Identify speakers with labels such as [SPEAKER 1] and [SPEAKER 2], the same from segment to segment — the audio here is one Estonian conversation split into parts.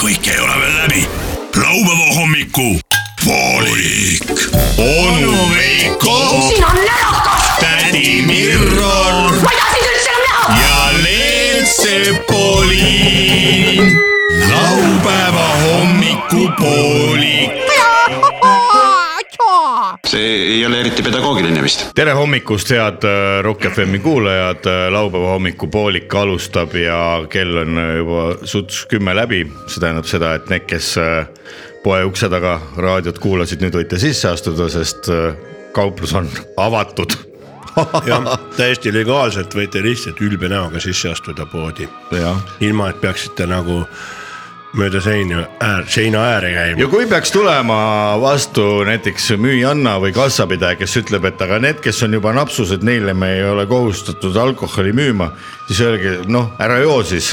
[SPEAKER 1] kõik ei ole veel läbi . laupäeva hommiku poolik . onu Veiko ,
[SPEAKER 2] siin on närakas ,
[SPEAKER 1] tädi Mirro
[SPEAKER 2] ma ei taha sind üldse enam näha .
[SPEAKER 1] ja Leelsepoliin . laupäeva hommikupoolik .
[SPEAKER 3] see ei ole eriti pedagoogiline vist .
[SPEAKER 4] tere hommikust , head äh, Rock FM-i kuulajad , laupäeva hommikupoolik alustab ja kell on äh, juba suts kümme läbi , see tähendab seda , et need , kes äh, poe ukse taga raadiot kuulasid , nüüd võite sisse astuda , sest äh, kauplus on avatud
[SPEAKER 5] jah , täiesti legaalselt võite lihtsalt ülbe näoga sisse astuda poodi ,
[SPEAKER 4] jah ,
[SPEAKER 5] ilma et peaksite nagu mööda seina , seina ääre käima
[SPEAKER 4] ja . kui peaks tulema vastu näiteks müüjanna või kassapidaja , kes ütleb , et aga need , kes on juba napsused , neile me ei ole kohustatud alkoholi müüma , siis öelge noh , ära joo siis .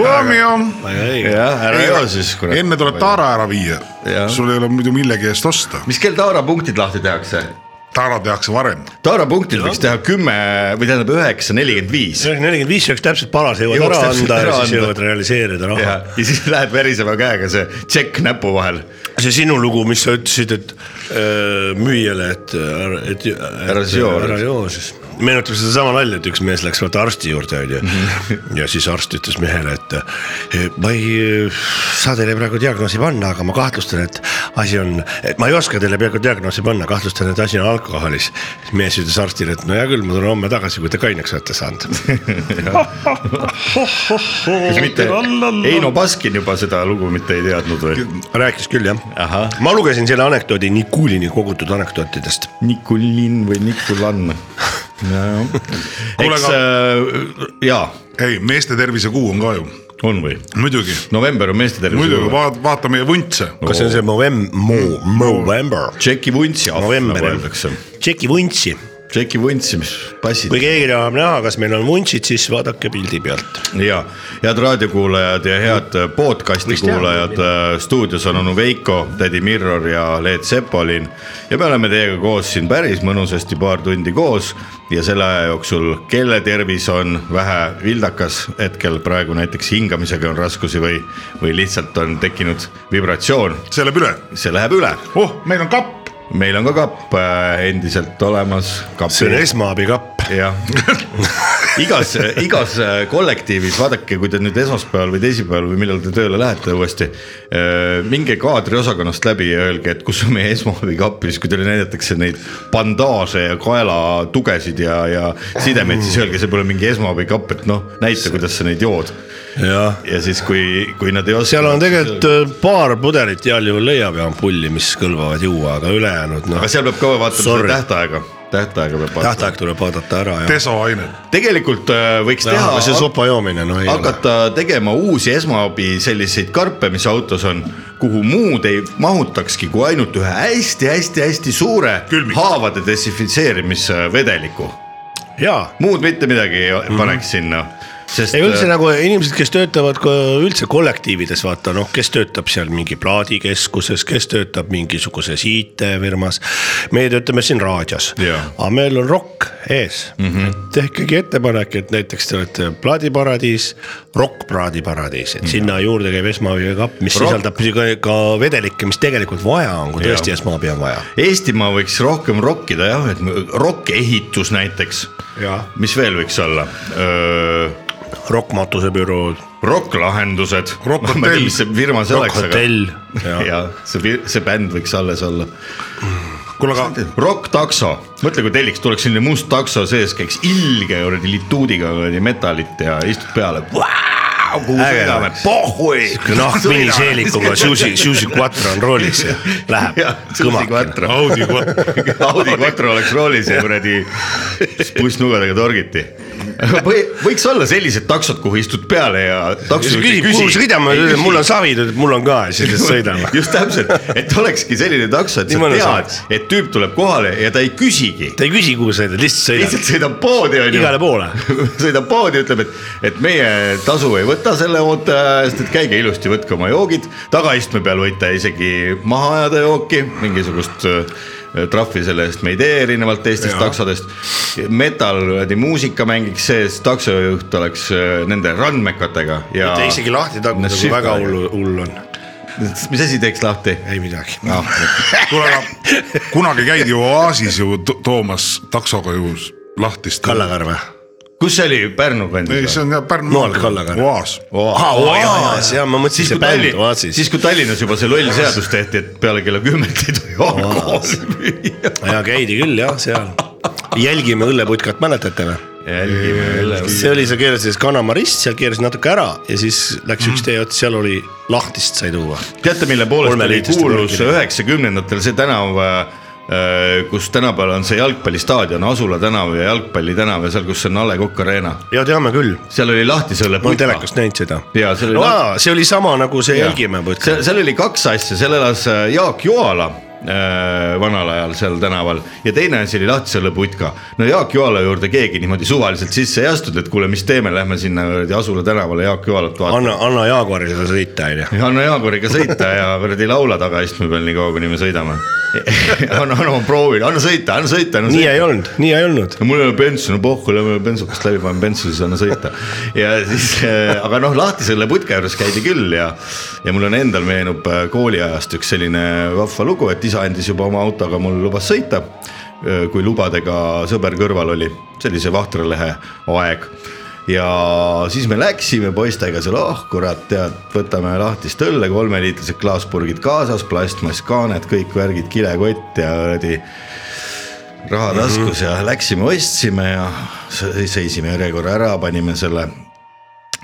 [SPEAKER 6] hommik .
[SPEAKER 4] jah , ära joo siis kurat .
[SPEAKER 6] enne tuleb . taara ära viia
[SPEAKER 4] Jah. ,
[SPEAKER 6] sul ei ole muidu millegi eest osta .
[SPEAKER 4] mis kell Taara punktid lahti tehakse ?
[SPEAKER 6] taara tehakse varem ,
[SPEAKER 4] Taara punktid võiks teha kümme või tähendab üheksa nelikümmend viis
[SPEAKER 5] nelikümmend viis peaks täpselt paras jõuad
[SPEAKER 4] Jõuaks
[SPEAKER 5] ära
[SPEAKER 4] täpselt
[SPEAKER 5] anda
[SPEAKER 4] ära
[SPEAKER 5] ja siis
[SPEAKER 4] anda.
[SPEAKER 5] jõuad realiseerida noh. raha
[SPEAKER 4] ja , ja siis läheb verisema käega see tšekk näpu vahel .
[SPEAKER 5] see sinu lugu , mis sa ütlesid , et öö, müüjale , et , et äh,
[SPEAKER 4] Ära siis joo.
[SPEAKER 5] ära joo siis . meenutab sedasama nalja , et üks mees läks vaata arsti juurde onju
[SPEAKER 4] Mhm.
[SPEAKER 5] ja siis arst ütles mehele , et eh, ma ei eh, saa teile praegu diagnoosi panna , aga ma kahtlustan , et asi on , et ma ei oska teile praegu diagnoosi panna , kahtlustan , et asi on alkoholis . siis mees ütles arstile , et no hea küll , ma tulen homme tagasi , kui te kaineks olete saanud .
[SPEAKER 4] kas mitte Heino Baskin juba seda lugu mitte ei teadnud või ?
[SPEAKER 5] rääkis küll jah
[SPEAKER 4] Ahah. ,
[SPEAKER 5] ma lugesin selle anekdoodi Nikulini kogutud anekdootidest
[SPEAKER 4] Nikulin või Nikulann .
[SPEAKER 6] Kuule,
[SPEAKER 4] eks
[SPEAKER 6] aga-
[SPEAKER 4] äh, jaa ,
[SPEAKER 6] ei meeste tervisekuu on ka ju ,
[SPEAKER 4] on või ?
[SPEAKER 6] muidugi ,
[SPEAKER 4] november on meeste
[SPEAKER 6] muidugi
[SPEAKER 4] tervise .
[SPEAKER 6] vaata , vaata meie vuntse .
[SPEAKER 5] kas see on see Movem- , Mo- , Movember ?
[SPEAKER 4] tšeki vuntsi ahv , nagu
[SPEAKER 5] November
[SPEAKER 4] öeldakse .
[SPEAKER 5] tšeki vuntsi ,
[SPEAKER 4] tšeki vuntsi , mis passid .
[SPEAKER 5] kui keegi tahab näha , kas meil on vuntsid , siis vaadake pildi pealt .
[SPEAKER 4] ja head raadiokuulajad ja head äh, podcast'i kuulajad , stuudios on onu Veiko , tädi Mirror ja Leet Sepolin . ja me oleme teiega koos siin päris mõnusasti paar tundi koos ja selle aja jooksul , kelle tervis on vähe vildakas hetkel praegu näiteks hingamisega on raskusi või , või lihtsalt on tekkinud vibratsioon ,
[SPEAKER 6] see läheb üle ,
[SPEAKER 4] see läheb üle .
[SPEAKER 6] oh , meil on kapp ,
[SPEAKER 4] meil on ka kapp äh, endiselt olemas .
[SPEAKER 5] see on esmaabikapp .
[SPEAKER 4] jah , igas , igas äh, kollektiivis , vaadake , kui te nüüd esmaspäeval või teisipäeval või millal te tööle lähete uuesti . minge kaadriosakonnast läbi ja öelge , et kus on meie esmaabikapp ja siis , kui teile näidatakse neid bandaaže ja kaelatugesid ja , ja sidemeid , siis öelge , see pole mingi esmaabikapp , et noh , näita , kuidas sa neid jood .
[SPEAKER 5] jah ,
[SPEAKER 4] ja siis , kui , kui nad ei oska .
[SPEAKER 5] seal on tegelikult äh, paar pudelit heal juhul leiab ja ampulli , mis kõlbavad juua , aga ülejäänud noh
[SPEAKER 4] aga , seal peab ka vaatama
[SPEAKER 5] Sorry.
[SPEAKER 4] seda tähtaega , tähtaega peab vaatama .
[SPEAKER 5] tähtaeg tuleb vaadata ära ja .
[SPEAKER 6] desoaine ,
[SPEAKER 4] tegelikult äh, võiks teha .
[SPEAKER 5] aga see sopa joomine , no ei ole .
[SPEAKER 4] hakata tegema uusi esmaabi selliseid karpe , mis autos on , kuhu muud ei mahutakski kui ainult ühe hästi-hästi-hästi suure
[SPEAKER 6] Külmiku.
[SPEAKER 4] haavade desinfitseerimisvedeliku .
[SPEAKER 5] jaa
[SPEAKER 4] muud mitte midagi ei
[SPEAKER 5] Mhm.
[SPEAKER 4] paneks mm -hmm. sinna , sest . äh,
[SPEAKER 5] ei üldse nagu inimesed , kes töötavad ka üldse kollektiivides , vaata noh , kes töötab seal mingi plaadikeskuses , kes töötab mingisuguses IT-firmas . meie töötame siin raadios ,
[SPEAKER 4] Jaa. Mhm.
[SPEAKER 5] aga meil on rokk ees mm . -hmm. tehkegi ettepanek , et näiteks te olete plaadiparadiis , rokkplaadiparadiis ,
[SPEAKER 4] Mhm.
[SPEAKER 5] et sinna juurde käib esmaabikapp , mis
[SPEAKER 4] Rock-
[SPEAKER 5] rock. sisaldab ka- ka vedelikke , mis tegelikult vaja on , kui tõesti
[SPEAKER 4] Jaa.
[SPEAKER 5] esmaabi on vaja .
[SPEAKER 4] Eestimaa võiks rohkem rokkida jah , et rokkehitus näiteks ,
[SPEAKER 5] jah ,
[SPEAKER 4] mis veel võiks olla ?
[SPEAKER 5] rokkmatusebürood ,
[SPEAKER 4] rokklahendused .
[SPEAKER 6] Rockhotell.
[SPEAKER 4] ma ei tea , mis see firma see oleks , aga .
[SPEAKER 5] rokkhotell .
[SPEAKER 4] jah , see , see bänd võiks alles olla
[SPEAKER 6] kuule aga
[SPEAKER 4] Rock takso , mõtle , kui telliks tuleks selline must takso sees , käiks ilge kuradi lituudiga kuradi metalit ja istud peale . kuhu
[SPEAKER 5] Äge
[SPEAKER 4] sõidame ,
[SPEAKER 5] oleks.
[SPEAKER 4] pohhui .
[SPEAKER 5] nahkmini noh, seelikuga Susi , Susi Quattro on roolis ja
[SPEAKER 4] jah ,
[SPEAKER 5] läheb Oh,
[SPEAKER 4] Susi
[SPEAKER 5] kõmakene .
[SPEAKER 4] Quattro ,
[SPEAKER 6] Audi kohe ,
[SPEAKER 4] Audi Quattro oleks roolis ja kuradi pussnugadega torgiti . või võiks olla sellised taksod , kuhu istud peale ja taksojuht ei
[SPEAKER 5] küsib , kuhu sõidame , mul on savi , ta ütleb , mul on ka ja siis lihtsalt sõidame .
[SPEAKER 4] just täpselt , et olekski selline takso , et
[SPEAKER 5] Nii
[SPEAKER 4] sa
[SPEAKER 5] mõnus
[SPEAKER 4] tead
[SPEAKER 5] oleks. ,
[SPEAKER 4] et tüüp tuleb kohale ja ta ei küsigi
[SPEAKER 5] ta ei küsi , kuhu sõidad , lihtsalt sõidad
[SPEAKER 4] lihtsalt sõidab poodi onju .
[SPEAKER 5] igale poole .
[SPEAKER 4] sõidab poodi , ütleb , et , et meie tasu ei võta selle ooteaja eest , et käige ilusti , võtke oma joogid , tagaistme peal võite isegi maha ajada jooki , mingisugust äh, trahvi selle eest me ei tee , erinevalt teistest
[SPEAKER 5] Jaa.
[SPEAKER 4] taksodest . metal , muusika mängiks sees , taksojuht oleks äh, nende randmekatega ja .
[SPEAKER 5] mitte isegi lahti taguda , kui väga . hullu , hull on ,
[SPEAKER 4] mis asi teeks lahti ?
[SPEAKER 5] ei midagi .
[SPEAKER 6] kuule , aga kunagi käidi Oasis ju to- toomas taksoga ju lahtist .
[SPEAKER 5] Kallakarve .
[SPEAKER 4] kus see oli , Pärnu
[SPEAKER 6] ei , see
[SPEAKER 4] kandis ?
[SPEAKER 6] on jah Pärnu .
[SPEAKER 5] Noal Kallaga.
[SPEAKER 6] Oas .
[SPEAKER 5] ja ma mõtlesin ,
[SPEAKER 4] siis
[SPEAKER 5] see
[SPEAKER 4] kui
[SPEAKER 5] bänd
[SPEAKER 4] Tallinnas ,
[SPEAKER 5] Oasis
[SPEAKER 4] siis . kui Tallinnas juba see loll seadus tehti , et peale kella kümmet ei tohi alkoholi müüa .
[SPEAKER 5] ja käidi küll jah , seal . jälgime õlleputkat , mäletate või ?
[SPEAKER 4] jälgime üle .
[SPEAKER 5] see oli , sa keerasid kanamarist , seal keerasid natuke ära ja siis läks üks tee otsa , seal oli lahtist sai tuua .
[SPEAKER 4] teate , mille poolest
[SPEAKER 5] Kolme
[SPEAKER 4] oli
[SPEAKER 5] liitriste
[SPEAKER 4] kuulus
[SPEAKER 5] korkidega.
[SPEAKER 4] üheksakümnendatel see tänav , kus tänapäeval on see jalgpallistaadion , Asula tänav ja Jalgpalli tänav ja seal , kus on A Le Coq Arena ,
[SPEAKER 5] ja teame küll ,
[SPEAKER 4] seal oli lahti selle
[SPEAKER 5] ma olen telekast näinud seda .
[SPEAKER 4] ja seal oli
[SPEAKER 5] no
[SPEAKER 4] lahti ,
[SPEAKER 5] aa , see oli sama nagu see jälgime putka .
[SPEAKER 4] seal , seal oli kaks asja , seal elas äh, Jaak Joala äh, vanal ajal seal tänaval ja teine asi oli lahti selle putka . no Jaak Joala juurde keegi niimoodi suvaliselt sisse ei astunud , et kuule , mis teeme , lähme sinna kuradi Asula tänavale Jaak Joalat vaatama .
[SPEAKER 5] anna , anna Jaaguarile sõita onju .
[SPEAKER 4] Hanno Jaaguriga sõita ja kuradi laula tagaistme peal nii kaua , kuni me sõidame . Hanno , Hanno , ma proovin , anna sõita , anna sõita , anna
[SPEAKER 5] nii
[SPEAKER 4] sõita .
[SPEAKER 5] ei olnud , nii ei olnud .
[SPEAKER 4] ja mul ei ole bensu , no pohhu , lähme bensukast läbi , paneme bensu , siis anna sõita . ja siis , aga noh , lahti selle putka juures käidi küll ja , ja mul on endal meenub äh, kooliajast üks selline vahva lugu , et isa andis juba oma autoga , mul lubas sõita . kui lubadega sõber kõrval oli , see oli see Vahtralehe aeg ja siis me läksime poistega seal , oh kurat , tead , võtame lahtist õlle , kolmeliitrised klaaspurgid kaasas , plastmasskaaned , kõik värgid , kilekott ja kuradi raha taskus ja läksime , ostsime ja se- seisime järjekorra ära , panime selle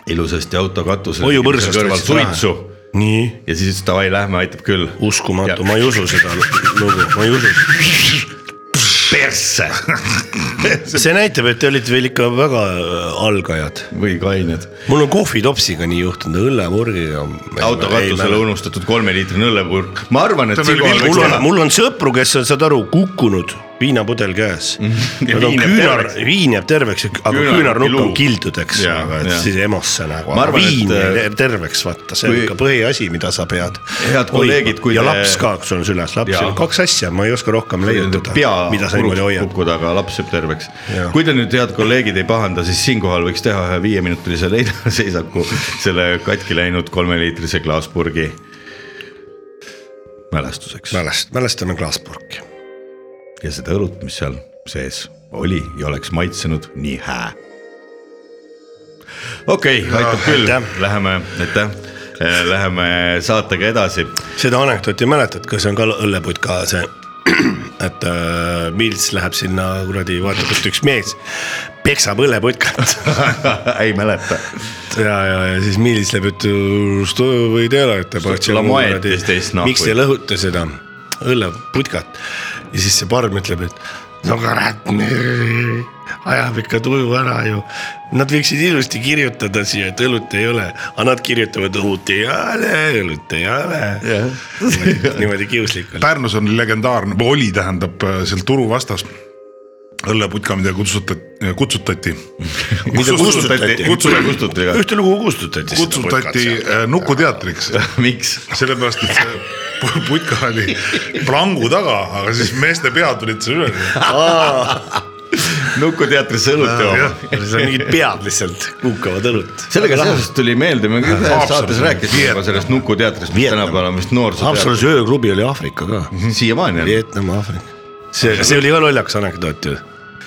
[SPEAKER 4] ilusasti auto katusele .
[SPEAKER 5] Hoiu põrsast
[SPEAKER 4] kõrval
[SPEAKER 5] võtsid raha.
[SPEAKER 4] suitsu
[SPEAKER 5] nii ,
[SPEAKER 4] ja siis davai , lähme , aitab küll .
[SPEAKER 5] uskumatu , ma ei usu seda lugu , ma ei usu .
[SPEAKER 4] persse
[SPEAKER 5] see näitab , et te olite veel ikka väga äh, algajad .
[SPEAKER 4] või kained .
[SPEAKER 5] mul on kohvitopsiga nii juhtunud , õllepurgiga .
[SPEAKER 4] auto katusele . unustatud kolmeliitrine õllepurk , ma arvan , et
[SPEAKER 6] Ta veel
[SPEAKER 4] siinkohal
[SPEAKER 6] vilgu-
[SPEAKER 4] võiks
[SPEAKER 5] mul on
[SPEAKER 4] teha ,.
[SPEAKER 5] mul on sõpru , kes on , saad aru , kukkunud , viinapudel käes .
[SPEAKER 4] Mhm. ja
[SPEAKER 5] Nad on
[SPEAKER 4] viin jääb
[SPEAKER 5] küünar
[SPEAKER 4] terveks. ,
[SPEAKER 5] viin jääb terveks , aga
[SPEAKER 4] Küünarnuki
[SPEAKER 5] küünarnukk on
[SPEAKER 4] luu.
[SPEAKER 5] kildud , eks
[SPEAKER 4] Jaa,
[SPEAKER 5] ole , et
[SPEAKER 4] jaa.
[SPEAKER 5] siis emosse nagu ,
[SPEAKER 4] Ma
[SPEAKER 5] aga
[SPEAKER 4] arvan,
[SPEAKER 5] viin
[SPEAKER 4] et,
[SPEAKER 5] jääb
[SPEAKER 4] äh,
[SPEAKER 5] ter- terveks , vaata , see on
[SPEAKER 4] kui-
[SPEAKER 5] ikka põhiasi , mida sa pead .
[SPEAKER 4] Head kolleegid, kui
[SPEAKER 5] ja
[SPEAKER 4] te-
[SPEAKER 5] laps ka , kui sul on süles laps ,
[SPEAKER 4] Jaa.
[SPEAKER 5] kaks asja , ma ei oska rohkem leiutada ,
[SPEAKER 4] pea
[SPEAKER 5] mida sa niimoodi
[SPEAKER 4] puruks
[SPEAKER 5] hoiad .
[SPEAKER 4] kukkuda , aga laps jääb terveks
[SPEAKER 5] Jaa. .
[SPEAKER 4] kui te nüüd , head kolleegid , ei pahanda , siis siinkohal võiks teha ühe viieminutilise leina- seisaku selle katki läinud kolmeliitrise klaaspurgi mälestuseks
[SPEAKER 5] mälest- , mälestame klaaspurki .
[SPEAKER 4] ja seda õlut , mis seal sees oli ja oleks maitsenud nii hää . okei
[SPEAKER 6] Äh,
[SPEAKER 4] okay, , aitab küll
[SPEAKER 5] aitäh. ,
[SPEAKER 4] läheme , aitäh , läheme saatega edasi
[SPEAKER 5] seda anekdooti mäletad , kas see on ka õlleputka see , et äh, Milts läheb sinna kuradi , vaatab , et üks mees peksab õlleputkat
[SPEAKER 4] ei mäleta .
[SPEAKER 5] ja , ja , ja siis Milits läheb , et "Äh, "Что вы делаете, почему
[SPEAKER 4] ломаете
[SPEAKER 5] kuradi-
[SPEAKER 4] здесь нахуй?"
[SPEAKER 5] miks te lõhute seda õlleputkat ja siis see parm ütleb , et no kurat , ajab ikka tuju ära ju . Nad võiksid ilusti kirjutada siia , et õlut ei ole , aga nad kirjutavad õlut ei ole , õlut ei ole . niimoodi kiuslikult .
[SPEAKER 6] Pärnus on legendaarne , oli tähendab äh, seal turu vastas õlleputka , mida kutsutati , kutsutati .
[SPEAKER 5] kustutati?
[SPEAKER 4] kutsume kustutati ka ,
[SPEAKER 5] ühte lugu kustutati .
[SPEAKER 6] kutsutati . äh, nukuteatriks ,
[SPEAKER 4] miks ?
[SPEAKER 6] sellepärast et see pu- putka oli plangu taga , aga siis meeste pead tulid seal üle .
[SPEAKER 4] nukuteatris
[SPEAKER 6] Äh,
[SPEAKER 4] õlut jooma .
[SPEAKER 5] seal mingid pead lihtsalt kukavad õlut .
[SPEAKER 4] sellega seoses tuli meelde , me ühes saates
[SPEAKER 6] Haapsalus.
[SPEAKER 4] rääkisime juba sellest nukuteatrist , mis
[SPEAKER 5] Vietnam.
[SPEAKER 4] tänapäeval on vist noorsooteatris ,
[SPEAKER 5] Haapsalus ööklubi oli Aafrika ka .
[SPEAKER 4] siiamaani on
[SPEAKER 5] Vietnam , Aafrika . see , see oli ka lollakas anekdoot ju .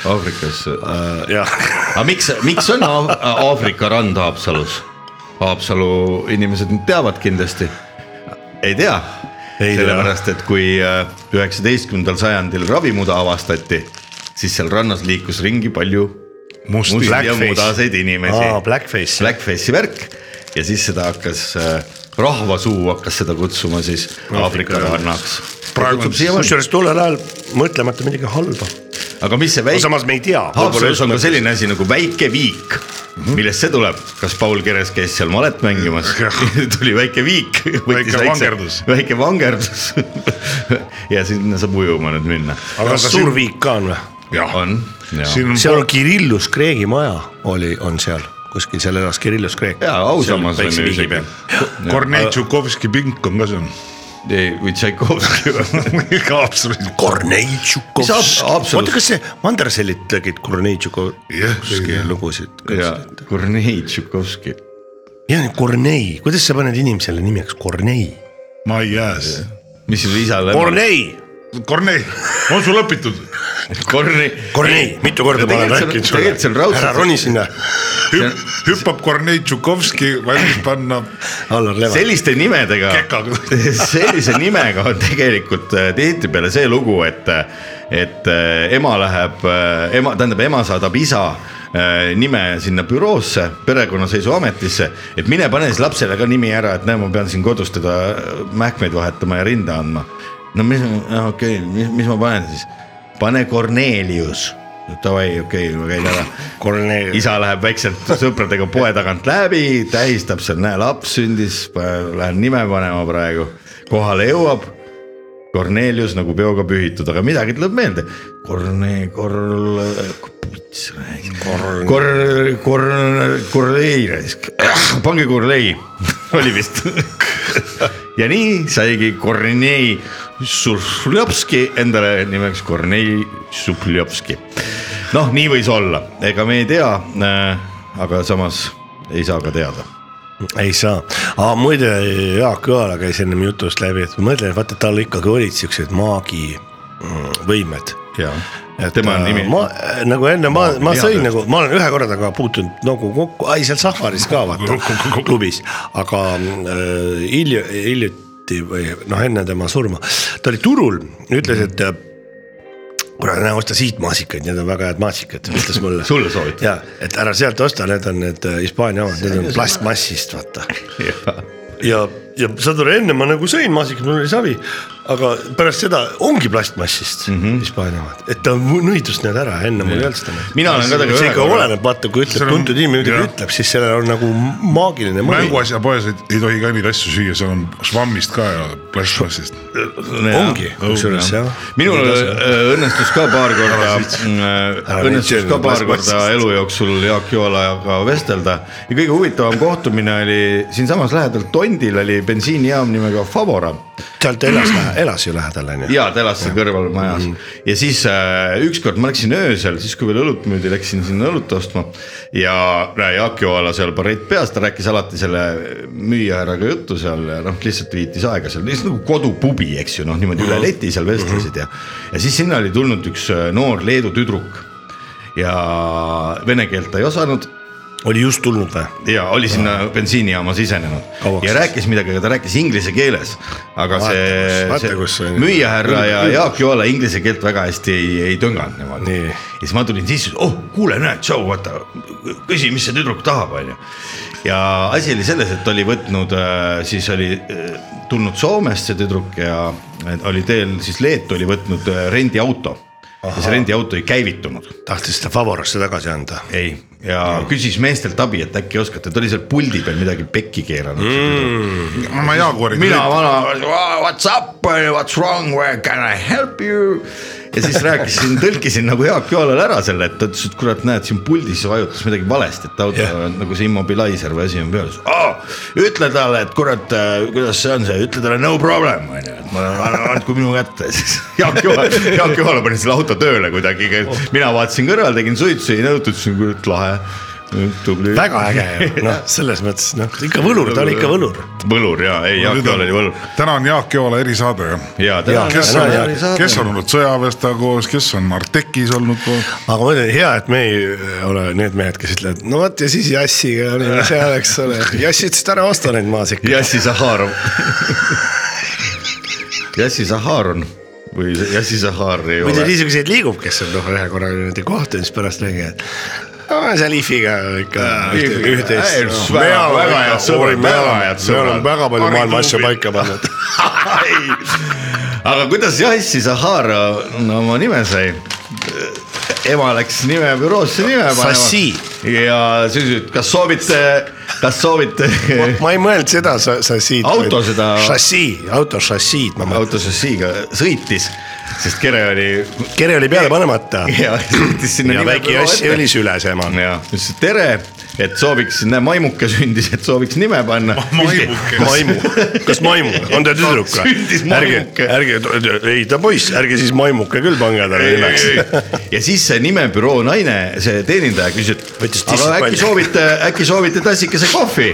[SPEAKER 4] Aafrikas . äh,
[SPEAKER 5] jah ,
[SPEAKER 4] aga miks , miks on Aaf- Aafrika rand Haapsalus ? Haapsalu inimesed nüüd teavad kindlasti . ei tea ,
[SPEAKER 5] Ei tea.
[SPEAKER 4] sellepärast et kui äh, üheksateistkümnendal sajandil ravimuda avastati , siis seal rannas liikus ringi palju
[SPEAKER 6] musti
[SPEAKER 4] musti ja
[SPEAKER 5] Blackface.
[SPEAKER 4] mudaseid inimesi
[SPEAKER 5] aa , Blackface .
[SPEAKER 4] Blackface'i värk ja siis seda hakkas , rahvasuu hakkas seda kutsuma siis Aafrika rannaks .
[SPEAKER 6] praegu on siis
[SPEAKER 5] kusjuures tollel ajal mõtlemata midagi halba .
[SPEAKER 4] aga mis see väike ,
[SPEAKER 5] samas me ei tea .
[SPEAKER 4] Haapsalus on ka selline asi nagu väike viik , millest see tuleb , kas Paul Keres käis seal malet mängimas
[SPEAKER 6] Jah. ,
[SPEAKER 4] tuli väike viik ,
[SPEAKER 6] Väike vangerdus.
[SPEAKER 4] väike vangerdus ja sinna saab ujuma nüüd minna .
[SPEAKER 6] aga
[SPEAKER 5] kas Mm.
[SPEAKER 6] ka
[SPEAKER 5] suur
[SPEAKER 6] siin ,
[SPEAKER 5] viik ka on või ?
[SPEAKER 6] jah ,
[SPEAKER 4] on ,
[SPEAKER 6] siin
[SPEAKER 5] seal
[SPEAKER 6] on
[SPEAKER 5] on Kirillus Kreegi maja oli , on seal kuskil seal elas Kirillus Kreek .
[SPEAKER 4] ja ausammas on ju isegi .
[SPEAKER 6] Kornei Tšukovski pink on ka seal .
[SPEAKER 4] ei , või Tšaikovski või ?
[SPEAKER 6] Absoluutselt .
[SPEAKER 5] Korneitšukov .
[SPEAKER 4] Mis ab- absoluut-
[SPEAKER 5] oota , kas see Mandersellit tegid
[SPEAKER 6] Jah,
[SPEAKER 5] Korneitšukovski
[SPEAKER 6] tegid, jah.
[SPEAKER 5] lugusid ?
[SPEAKER 4] jaa , Kornei Tšaikovski .
[SPEAKER 5] ja nüüd Kornei , kuidas sa paned inimesele nimeks Kornei ?
[SPEAKER 6] My ass .
[SPEAKER 4] mis sinu isale ?
[SPEAKER 5] Kornei ,
[SPEAKER 6] Kornei , on sul õpitud ?
[SPEAKER 4] Kornei .
[SPEAKER 5] Kornei , mitu korda ma olen
[SPEAKER 4] Tegelikult see-
[SPEAKER 5] rääkinud
[SPEAKER 4] tegelikult see on
[SPEAKER 5] sulle ,
[SPEAKER 4] raudselt-
[SPEAKER 5] ära roni sinna ,
[SPEAKER 6] hüppab Kornei Tšukovski valmis panna
[SPEAKER 5] Allar Leva .
[SPEAKER 4] selliste nimedega ,
[SPEAKER 6] kekaga .
[SPEAKER 4] sellise nimega on tegelikult äh, tihtipeale see lugu , et , et äh, ema läheb , ema , tähendab , ema saadab isa äh, nime sinna büroosse , perekonnaseisuametisse , et mine pane siis lapsele ka nimi ära , et näe , ma pean siin kodus teda äh, mähkmeid vahetama ja rinda andma . no mis , okei okay, , mis , mis ma panen siis , pane Cornelius , davai , okei okay, , ma käin ära
[SPEAKER 5] Kornei .
[SPEAKER 4] isa läheb väikselt sõpradega poe tagant läbi , tähistab seal , näe laps sündis , lähen nime panema praegu , kohale jõuab . Kornelius nagu peoga pühitud , aga midagi tuleb meelde . Korne- , Korl- , mis räägib , Kor- , Kor- , Korlei raisk , pange Korlei , oli vist . ja nii saigi Kornei Surfljovski endale nimeks Kornei Surfljovski . noh , nii võis olla , ega me ei tea , aga samas ei saa ka teada .
[SPEAKER 5] ei saa , aga muide Jaak Õala käis ennem jutust läbi , et ma mõtlen , et vaata tal ikkagi olid siuksed mm, maagivõimed .
[SPEAKER 4] ja , tema nimi
[SPEAKER 5] ma äh, nagu enne ma , ma
[SPEAKER 4] jaa,
[SPEAKER 5] sõin
[SPEAKER 4] tõesti.
[SPEAKER 5] nagu , ma olen ühe korra taga puutunud nagu kokku , ai seal Saharis ka vaata klubis , aga äh, hilju- , hiljuti või noh , enne tema surma , ta oli turul , ütles , et äh, kuule , näe osta siit maasikaid , need on väga head maasikad , ütles mulle .
[SPEAKER 4] Sulle soovitas.
[SPEAKER 5] ja , et ära sealt osta , need on need äh, Hispaania omad , need on plastmassist , vaata . ja , ja saad aru , enne ma nagu sõin maasikat , mul oli savi , aga pärast seda ongi plastmassist mm
[SPEAKER 4] Mhm.
[SPEAKER 5] -hmm. Hispaania omad , et ta mu- nõidus need ära , enne mul ei olnud seda .
[SPEAKER 4] Mina olen ka temaga
[SPEAKER 5] see
[SPEAKER 4] ühe
[SPEAKER 5] ikka
[SPEAKER 4] korra-
[SPEAKER 5] oleneb , vaata , kui
[SPEAKER 6] See
[SPEAKER 5] ütleb
[SPEAKER 6] on-
[SPEAKER 5] tuntud inimene midagi
[SPEAKER 6] jah.
[SPEAKER 5] ütleb , siis sellel on nagu maagiline mõju .
[SPEAKER 6] mänguasjapoes ei, ei tohi ka neid asju süüa , seal on švammist ka ja plastmassist .
[SPEAKER 5] ongi , kusjuures jah .
[SPEAKER 4] minul äh, õnnestus ka paar korda , õnnestus ka paar korda elu jooksul Jaak Joalaga vestelda ja kõige huvitavam kohtumine oli siinsamas lähedal Tondil oli bensiinijaam nimega Favora
[SPEAKER 5] sealt elas , elas ju lähedal on ju .
[SPEAKER 4] ja ta elas seal kõrval majas ja siis äh, ükskord ma läksin öösel , siis kui veel õlut müüdi , läksin sinna õlut ostma ja näe, Jaak Joala seal barett peas , ta rääkis alati selle müüjahärraga juttu seal ja noh , lihtsalt viitis aega seal , lihtsalt nagu kodupubi , eks ju , noh niimoodi üle leti seal vestlesid ja , ja siis sinna oli tulnud üks äh, noor Leedu tüdruk ja vene keelt ta ei osanud
[SPEAKER 5] oli just tulnud või ?
[SPEAKER 4] ja oli sinna bensiinijaama sisenenud
[SPEAKER 5] Kauaks
[SPEAKER 4] ja
[SPEAKER 5] siis.
[SPEAKER 4] rääkis midagi , aga ta rääkis inglise keeles . aga
[SPEAKER 5] Vaata kus,
[SPEAKER 4] see,
[SPEAKER 5] vaata kus
[SPEAKER 4] see
[SPEAKER 5] see-
[SPEAKER 4] müüjahärra ja Jaak Joala inglise keelt väga hästi ei , ei tõnganud niimoodi
[SPEAKER 5] Nii.
[SPEAKER 4] ja siis ma tulin sisse , oh kuule , näed , tšau , vaata , küsi , mis see tüdruk tahab , onju . ja asi oli selles , et oli võtnud , siis oli äh, tulnud Soomest see tüdruk ja äh, oli teel siis Leetu oli võtnud äh, rendiauto ja see rendiauto ei käivitunud
[SPEAKER 5] tahtis seda Favorasse tagasi anda .
[SPEAKER 4] ei , ja küsis meestelt abi , et äkki oskate , ta oli seal puldi peal midagi pekki keeranud mm, .
[SPEAKER 6] ma Jaaguari .
[SPEAKER 4] mina vana , what's up , what's wrong , where can I help you ? ja siis rääkisin , tõlkisin nagu Jaak Joalale ära selle , et ta ütles , et kurat , näed siin puldis vajutas midagi valesti , et auto
[SPEAKER 5] Jah.
[SPEAKER 4] yeah. nagu see immobilizer või asi on peal oh, . ütle talle , et kurat , kuidas see on see , ütle talle no problem onju , et ma anna- andku minu kätte siis . Jaak Joala , Jaak Joala pani selle auto tööle kuidagi , mina vaatasin kõrval , tegin suitsu , ei nõutud , ütlesin kurat lahe , tubli .
[SPEAKER 5] väga äge ju , noh , selles mõttes noh , ikka võlur , ta oli ikka võlur .
[SPEAKER 4] võlur ja , ei Jaak Joal oli võlur
[SPEAKER 6] täna on Jaak Joala erisaade ju .
[SPEAKER 4] ja täna
[SPEAKER 5] Jaa,
[SPEAKER 6] kes
[SPEAKER 5] täna
[SPEAKER 6] on
[SPEAKER 5] on Jaak- ,
[SPEAKER 6] kes on olnud sõjaväes ta koos , kes on Artekis olnud koos .
[SPEAKER 5] aga ma ütlen , hea , et me ei äh, ole need mehed , kes ütlevad , no vot ja siis jassiga olime seal , eks ole , jass ütles , et ära osta neid maasikaid .
[SPEAKER 4] Jassi Zaharov . Jassi Zaharon või Jassi Zahar ei
[SPEAKER 5] muidu
[SPEAKER 4] ole .
[SPEAKER 5] niisuguseid liigub , kes on noh , ühe korra niimoodi kohtunud , siis pärast räägivad . no seal IFI-ga ikka üht-
[SPEAKER 4] Ifiga, ei,
[SPEAKER 5] üht-teist .
[SPEAKER 4] väga- väga head sõbrad, väga head
[SPEAKER 5] me oleme
[SPEAKER 4] sõbrad.
[SPEAKER 5] väga palju
[SPEAKER 4] Panin
[SPEAKER 5] maailma asju
[SPEAKER 4] klubi.
[SPEAKER 5] paika pannud .
[SPEAKER 4] aga kuidas Jassi Zahar no, oma nime sai ? ema läks nime büroosse nime panema .
[SPEAKER 5] Sassi.
[SPEAKER 4] ja siis ütles , kas soovite , kas soovite
[SPEAKER 5] ma ei mõelnud seda sa- sassiid .
[SPEAKER 4] Auto seda-
[SPEAKER 5] šassii , auto šassiid ma mõtlen .
[SPEAKER 4] autosassiiga sõitis sest kere oli
[SPEAKER 5] kere oli peale panemata
[SPEAKER 4] ja sõitis sinna
[SPEAKER 5] ja väike jass õli süles ema .
[SPEAKER 4] ja ütles et tere , et sooviks , näe maimuke sündis , et sooviks nime panna .
[SPEAKER 6] maimuke.
[SPEAKER 5] maimu , kas maimu , on ta tüdruk või
[SPEAKER 4] Sündis ?
[SPEAKER 5] ärge ,
[SPEAKER 4] maimuke.
[SPEAKER 5] ärge , ei ta poiss , ärge siis maimuke küll pange talle nimeks .
[SPEAKER 4] ja siis see nimebüroo naine , see teenindaja küsis ,
[SPEAKER 5] Võttis
[SPEAKER 4] et
[SPEAKER 5] tissid
[SPEAKER 4] aga äkki
[SPEAKER 5] palja.
[SPEAKER 4] soovite , äkki soovite tassikese kohvi .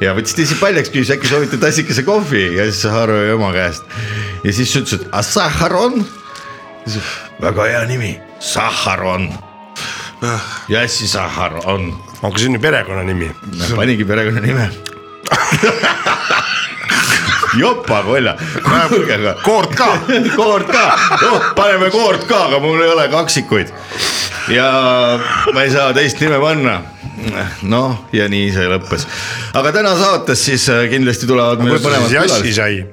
[SPEAKER 4] ja võttis tissid paljaks , küsis äkki soovite tassikese kohvi ja siis Haro jäi oma käest . ja siis ütles , et "A Sahharon . väga hea nimi , Sahharon .
[SPEAKER 5] Ah.
[SPEAKER 4] Jassi Sahharon ,
[SPEAKER 5] aga see on ju perekonnanimi .
[SPEAKER 4] panigi perekonnanime . jopakolla , kuulge aga
[SPEAKER 6] koort ka .
[SPEAKER 4] koort ka , noh , paneme koort ka , aga mul ei ole kaksikuid . ja ma ei saa teist nime panna . noh , ja nii see lõppes . aga täna saates siis äh, kindlasti tulevad meil
[SPEAKER 5] kuidas ta
[SPEAKER 4] põnevad
[SPEAKER 5] siis jassi
[SPEAKER 4] külalised .
[SPEAKER 5] sai ?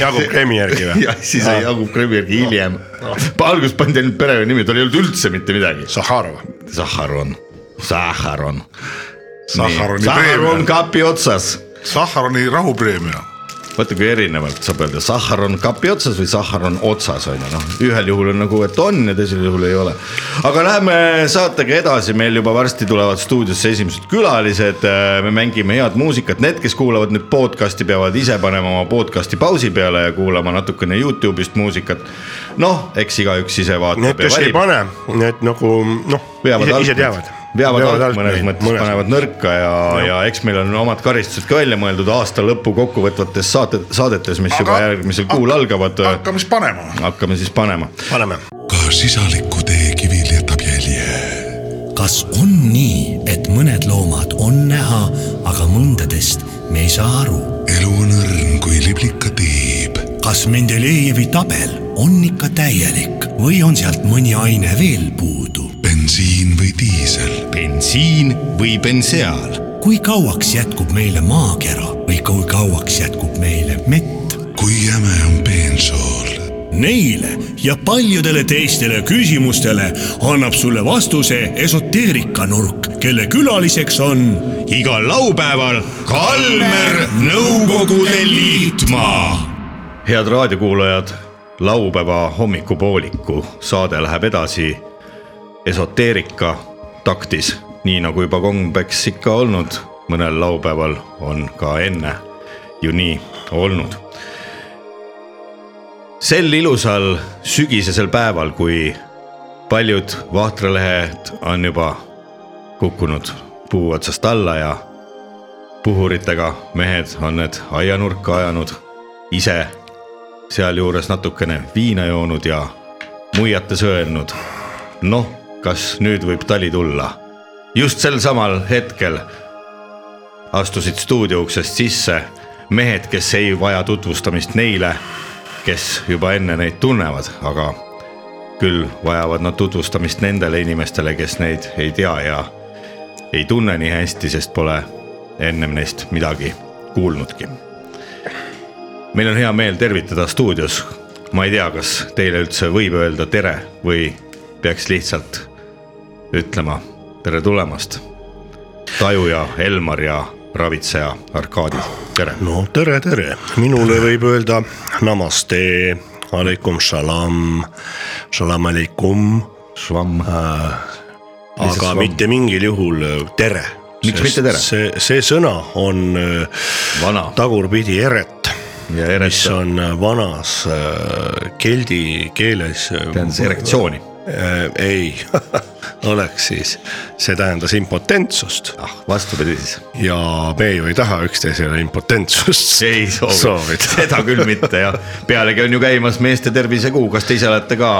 [SPEAKER 5] Jaagup Kreemi järgi või ?
[SPEAKER 4] Jassi sai Jaagup Kremjärgi hiljem . Ah. alguses pandi ainult perenimi , tal ei olnud üldse mitte midagi .
[SPEAKER 5] Saharov .
[SPEAKER 4] Sahharon , Sahharon .
[SPEAKER 6] Sahharoni
[SPEAKER 4] Sahharon
[SPEAKER 6] preemia ,
[SPEAKER 4] kapi otsas .
[SPEAKER 6] Sahharoni rahupreemia .
[SPEAKER 4] vaata , kui erinevalt saab öelda , sahhar on kapi otsas või sahhar on otsas , on ju , noh , ühel juhul on nagu , et on ja teisel juhul ei ole . aga läheme saatega edasi , meil juba varsti tulevad stuudiosse esimesed külalised , me mängime head muusikat , need , kes kuulavad nüüd podcast'i , peavad ise panema oma podcast'i pausi peale ja kuulama natukene Youtube'ist muusikat . noh , eks igaüks ise vaatab
[SPEAKER 5] Need , kes ei pane , need nagu noh ,
[SPEAKER 4] veavad
[SPEAKER 5] ise , ise
[SPEAKER 4] alt-
[SPEAKER 5] teavad .
[SPEAKER 4] veavad alt mõnes mõttes , panevad nõrka ja , ja eks meil on omad karistused ka välja mõeldud aasta lõpu kokkuvõtvates saate , saadetes , mis juba järgmisel kuul algavad . äh,
[SPEAKER 6] hakkame siis panema .
[SPEAKER 4] hakkame siis panema .
[SPEAKER 5] paneme .
[SPEAKER 7] ka sisaliku tee kivil jätab jälje .
[SPEAKER 8] kas on nii , et mõned loomad on näha , aga mõndadest me ei saa aru ?
[SPEAKER 7] elu on õrn kui liblika tiib .
[SPEAKER 8] kas Mendelejevi tabel on ikka täielik või on sealt mõni aine veel puudu ?
[SPEAKER 7] bensiin või diisel ,
[SPEAKER 4] bensiin või benseaal .
[SPEAKER 8] kui kauaks jätkub meile maakera või kui kauaks jätkub meile mett ?
[SPEAKER 7] kui jäme on bensool
[SPEAKER 8] Neile ja paljudele teistele küsimustele annab sulle vastuse esoteerikanurk , kelle külaliseks on
[SPEAKER 1] igal laupäeval Kalmer Nõukogude Liitmaa .
[SPEAKER 4] head raadiokuulajad , laupäeva hommikupooliku saade läheb edasi esoteerika taktis , nii nagu juba kombeks ikka olnud , mõnel laupäeval on ka enne ju nii olnud . sel ilusal sügisesel päeval , kui paljud vahtralehed on juba kukkunud puu otsast alla ja puhuritega mehed on need aianurka ajanud , ise sealjuures natukene viina joonud ja muiates öelnud . noh , kas nüüd võib tali tulla ? just sel samal hetkel astusid stuudio uksest sisse mehed , kes ei vaja tutvustamist neile , kes juba enne neid tunnevad , aga küll vajavad nad tutvustamist nendele inimestele , kes neid ei tea ja ei tunne nii hästi , sest pole ennem neist midagi kuulnudki . meil on hea meel tervitada stuudios , ma ei tea , kas teile üldse võib öelda tere või peaks lihtsalt ütlema tere tulemast . Taju ja Elmar ja ravitseja Arkadi , tere .
[SPEAKER 5] no tere , tere , minule võib öelda namaste , alaikum shalom , shalom alaikum ,
[SPEAKER 4] Švamm ,
[SPEAKER 5] aga
[SPEAKER 4] shalom.
[SPEAKER 5] mitte mingil juhul tere .
[SPEAKER 4] Miks mitte tere?
[SPEAKER 5] see , see sõna on
[SPEAKER 4] vana
[SPEAKER 5] tagurpidi eret ,
[SPEAKER 4] ja
[SPEAKER 5] mis
[SPEAKER 4] erektsioon ,
[SPEAKER 5] on vanas äh, keldi keeles .
[SPEAKER 4] tähendas erektsiooni .
[SPEAKER 5] ei , oleks siis , see tähendas impotentsust
[SPEAKER 4] ah , vastupidi siis .
[SPEAKER 5] ja me ju ei taha üksteisele impotentsust .
[SPEAKER 4] ei soovi, soovi. ,
[SPEAKER 5] soovida .
[SPEAKER 4] seda küll mitte jah , pealegi on ju käimas meeste tervisekuu , kas te ise olete ka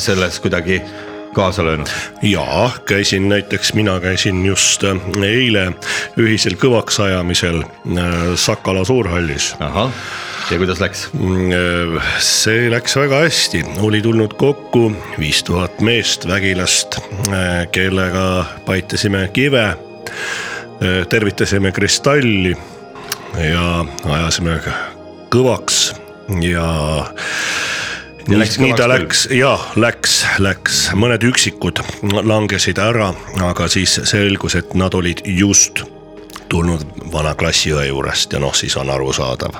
[SPEAKER 4] selles kuidagi kaasa löönud ?
[SPEAKER 5] jaa , käisin näiteks , mina käisin just äh, eile ühisel kõvaks ajamisel äh, Sakala suurhallis .
[SPEAKER 4] ahah , ja kuidas läks ?
[SPEAKER 5] Mm, äh, see läks väga hästi , oli tulnud kokku viis tuhat meest vägilast , kellega paitasime kive , tervitasime kristalli ja ajasime kõvaks ja . Ja
[SPEAKER 4] läks
[SPEAKER 5] nii ta
[SPEAKER 4] kõvaks
[SPEAKER 5] läks ja läks , läks , mõned üksikud langesid ära , aga siis selgus , et nad olid just tulnud vana klassiõe juurest ja noh , siis on arusaadav .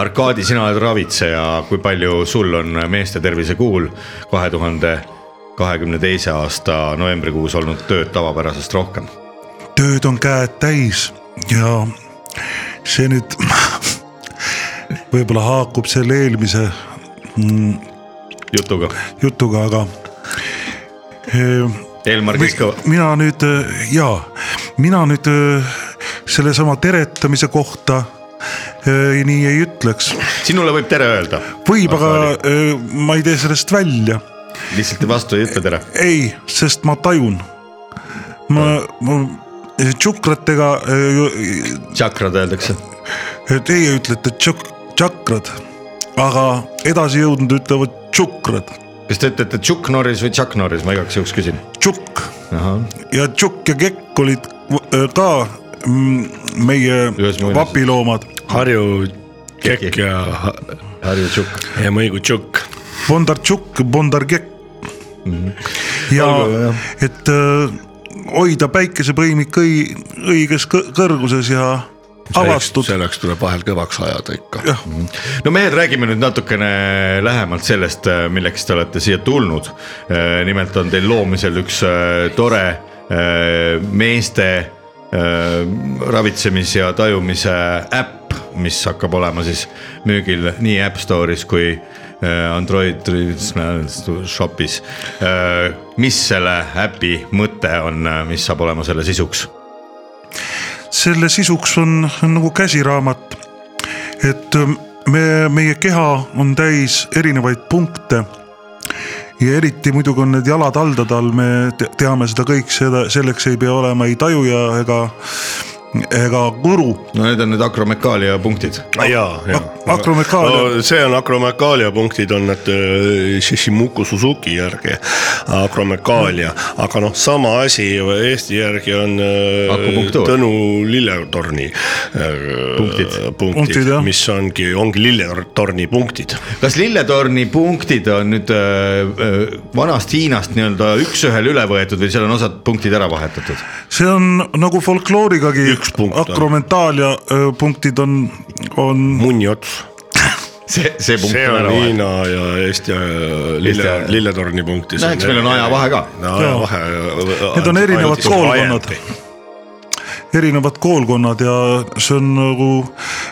[SPEAKER 4] Arkadi , sina oled ravitseja , kui palju sul on meeste tervise kuul kahe tuhande kahekümne teise aasta novembrikuus olnud tööd tavapärasest rohkem ?
[SPEAKER 6] tööd on käed täis ja see nüüd võib-olla haakub selle eelmise mm,
[SPEAKER 4] jutuga ,
[SPEAKER 6] jutuga , aga eh,
[SPEAKER 4] Elmar
[SPEAKER 6] Mi-
[SPEAKER 4] Kiskova .
[SPEAKER 6] mina nüüd ja , mina nüüd öö, sellesama teretamise kohta öö, nii ei ütleks ,
[SPEAKER 4] sinule võib tere öelda ,
[SPEAKER 6] võib , aga öö, ma ei tee sellest välja ,
[SPEAKER 4] lihtsalt vastu ei ütle tere .
[SPEAKER 6] ei , sest ma tajun . ma , ma tšukratega ,
[SPEAKER 4] tšakrad öeldakse .
[SPEAKER 6] teie ütlete tšuk- , tšakrad , aga edasijõudnud ütlevad tšukrad ,
[SPEAKER 4] kas te ütlete Chuck Norris või Chuck Norris , ma igaks juhuks küsin .
[SPEAKER 6] tšukk
[SPEAKER 4] ahah ,
[SPEAKER 6] ja tšukk ja kekk olid öö, ka mm, meie
[SPEAKER 4] Ühes muinasjutus.
[SPEAKER 6] vapiloomad
[SPEAKER 5] Harju
[SPEAKER 4] Kekk
[SPEAKER 5] Kekk ja ,
[SPEAKER 4] Harju Chuck .
[SPEAKER 5] ja Mõigu Tšukk .
[SPEAKER 6] Bondartšuk , Bondargek ja
[SPEAKER 4] Olgu, jah.
[SPEAKER 6] et äh, hoida päikesepõimik õi- õiges kõ- kõrguses ja avatud .
[SPEAKER 5] selleks tuleb vahel kõvaks ajada ikka .
[SPEAKER 4] no mehed , räägime nüüd natukene lähemalt sellest , milleks te olete siia tulnud . nimelt on teil loomisel üks eh, tore eh, meeste eh, ravitsemis- ja tajumise äpp , mis hakkab olema siis müügil nii App Store'is kui eh, Android Shopis . mis selle äpi mõte on , mis saab olema selle sisuks ?
[SPEAKER 6] selle sisuks on on nagu käsiraamat . et ähm, me , meie keha on täis erinevaid punkte . ja eriti muidugi on need jalad haldade all , me te- teame seda kõik , seda , selleks ei pea olema ei tajuja ega , ega guru
[SPEAKER 4] no need on need akromekaalia punktid
[SPEAKER 5] ja , ja
[SPEAKER 6] Ak- . akromekaalia.
[SPEAKER 5] no, . Noh, see on akromekaalia punktid on need öö, Shishimuku Suzuki järgi akromekaalia , aga noh , sama asi Eesti järgi on öö,
[SPEAKER 4] Akupunktuur.
[SPEAKER 5] Tõnu Lilletorni öö,
[SPEAKER 4] Punktid.
[SPEAKER 5] punktid
[SPEAKER 6] Punktid, jah. ,
[SPEAKER 5] mis ongi , ongi Lilletorni punktid .
[SPEAKER 4] kas lilletorni punktid on nüüd äh, äh, vanast Hiinast nii-öelda üks-ühele üle võetud või seal on osad punktid ära vahetatud ?
[SPEAKER 6] see on nagu folkloorigagi
[SPEAKER 5] Üks punkt on.
[SPEAKER 6] akromentaalia öö, punktid on , on
[SPEAKER 5] munni ots ,
[SPEAKER 4] see , see punkt
[SPEAKER 5] see
[SPEAKER 4] see on
[SPEAKER 5] on
[SPEAKER 4] ära vahetatud .
[SPEAKER 5] Hiina ja Eesti öö, Lille
[SPEAKER 4] Eesti- ,
[SPEAKER 5] Lilletorni punktis .
[SPEAKER 4] no eks meil on ajavahe ka .
[SPEAKER 5] no, . ajavahe . äh,
[SPEAKER 6] Need on erinevad koolkonnad. erinevad koolkonnad ja see on nagu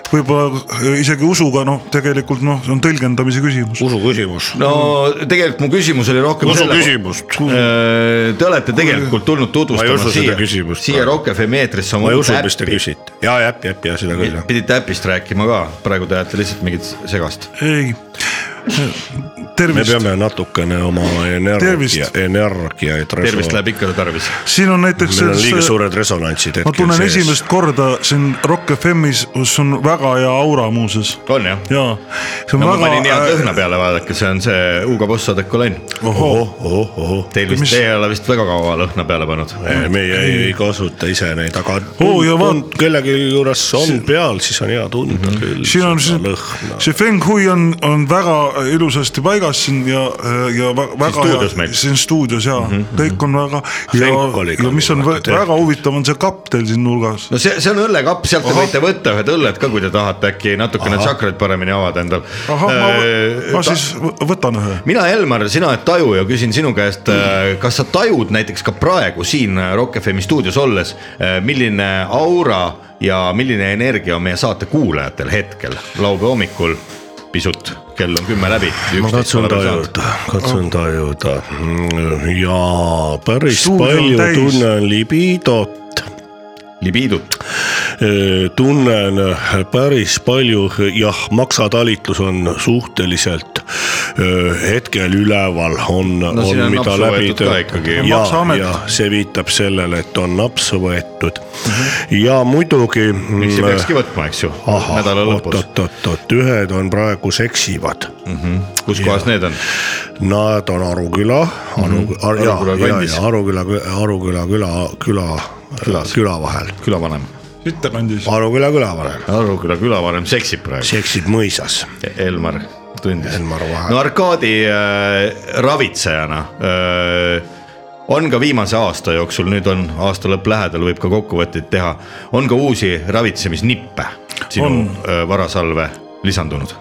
[SPEAKER 6] võib-olla äh, isegi usuga noh , tegelikult noh , see on tõlgendamise küsimus .
[SPEAKER 5] usu küsimus .
[SPEAKER 4] no tegelikult mu küsimus oli rohkem äh,
[SPEAKER 5] usu . küsimust .
[SPEAKER 6] Äh,
[SPEAKER 4] Te olete tegelikult tulnud
[SPEAKER 5] Ma ei
[SPEAKER 4] tutvustama
[SPEAKER 5] usu seda
[SPEAKER 4] siia ,
[SPEAKER 5] küsimust
[SPEAKER 4] siia
[SPEAKER 5] praegu.
[SPEAKER 4] Rock FM eetrisse
[SPEAKER 5] ma
[SPEAKER 4] oma
[SPEAKER 5] ei
[SPEAKER 4] uut
[SPEAKER 5] usu , mis te
[SPEAKER 4] äppi .
[SPEAKER 5] küsite . ja , äpp , äpp ja seda küll .
[SPEAKER 4] pidite äpist rääkima ka , praegu te ajate lihtsalt mingit segast .
[SPEAKER 6] ei ,
[SPEAKER 5] me
[SPEAKER 6] tervist ,
[SPEAKER 5] peame natukene oma energia
[SPEAKER 6] Tervist. ,
[SPEAKER 5] energiaid .
[SPEAKER 4] tervist . läheb ikka tarvis .
[SPEAKER 6] siin on näiteks
[SPEAKER 5] meil on liiga
[SPEAKER 6] selles ,
[SPEAKER 5] suured resonantsid
[SPEAKER 6] ma
[SPEAKER 5] hetkel
[SPEAKER 6] tunnen
[SPEAKER 5] sees .
[SPEAKER 6] esimest korda siin Rock FM-is , kus on väga hea aura muuseas
[SPEAKER 4] on jah ?
[SPEAKER 6] ja see on
[SPEAKER 4] no ma panin hea
[SPEAKER 5] äh,
[SPEAKER 6] väga
[SPEAKER 4] lõhna . peale , vaadake , see on see Hugo Boss Odekolonn .
[SPEAKER 5] ohoh , ohoh , ohoh .
[SPEAKER 4] Teil vist ,
[SPEAKER 6] Mis-
[SPEAKER 4] te ei ole vist väga kaua lõhna peale pannud .
[SPEAKER 5] meie ei, ei kasuta ise neid , aga
[SPEAKER 6] Oo, ja vaat- Mhm.
[SPEAKER 5] tund- kellegi juures on peal , siis on hea tunda küll .
[SPEAKER 6] siin on see
[SPEAKER 5] lõhna ,
[SPEAKER 6] see Feng Hui on , on väga äh, ilusasti paigas siin ja , ja vä- väga
[SPEAKER 4] stuudios meil. Mhm,
[SPEAKER 6] siin stuudios ja mm -hmm. kõik on väga
[SPEAKER 5] Feng oli
[SPEAKER 6] ja ,
[SPEAKER 5] ka
[SPEAKER 6] ja mis on
[SPEAKER 5] vaata,
[SPEAKER 6] vä-
[SPEAKER 5] Feng.
[SPEAKER 6] väga huvitav , on see kapp teil siin nurgas .
[SPEAKER 4] no see , see on õllekapp , sealt te võite võtta ühed õlled ka , kui te tahate äkki natukene tsakraid paremini avada endal .
[SPEAKER 6] ahah , ma,
[SPEAKER 4] Äh,
[SPEAKER 6] võ- ma siis võ- võtan ühe .
[SPEAKER 4] mina , Elmar , sina oled tajuja , küsin sinu käest , kas sa tajud näiteks ka praegu siin Rock FM stuudios olles , milline aura ja milline energia on meie saate kuulajatel hetkel laupäeva hommikul pisut , kell on kümme läbi .
[SPEAKER 5] ma katsun tajuda , katsun tajuda ja päris
[SPEAKER 6] Stuudio on
[SPEAKER 5] palju
[SPEAKER 6] täis.
[SPEAKER 5] tunnen libidot
[SPEAKER 4] libiidut ,
[SPEAKER 5] Äh, tunnen päris palju , jah , maksatalitlus on suhteliselt öö, hetkel üleval , on no, ,
[SPEAKER 4] siin on
[SPEAKER 5] on mida
[SPEAKER 4] napsu
[SPEAKER 5] läbi
[SPEAKER 4] võetud ka ikkagi.
[SPEAKER 5] ja ,
[SPEAKER 6] Maksuamet.
[SPEAKER 5] ja see viitab sellele , et on napsu võetud mm -hmm. ja muidugi . mm,
[SPEAKER 4] miks ei peakski võtma , eks ju , nädala lõpus ,
[SPEAKER 5] oot-oot-oot , ühed on praegu seksivad
[SPEAKER 4] kus kohas need on ?
[SPEAKER 5] Nad on Aruküla , Aru ,
[SPEAKER 4] Mhm. Aruküla
[SPEAKER 5] ja , ja ,
[SPEAKER 4] kandis.
[SPEAKER 5] ja Aruküla , Aruküla küla , küla , küla vahel .
[SPEAKER 4] külavanem ,
[SPEAKER 6] sittekandis .
[SPEAKER 5] Aruküla küla vahel ,
[SPEAKER 4] Aruküla külavanem seksib praegu ,
[SPEAKER 5] seksid mõisas .
[SPEAKER 4] Elmar tundis
[SPEAKER 5] Elmar Vaher
[SPEAKER 4] no . Arkadi äh, ravitsejana äh, on ka viimase aasta jooksul , nüüd on aasta lõpp lähedal , võib ka kokkuvõtteid teha , on ka uusi ravitsemisnippe sinu
[SPEAKER 6] On.
[SPEAKER 4] öö, varasalve lisandunud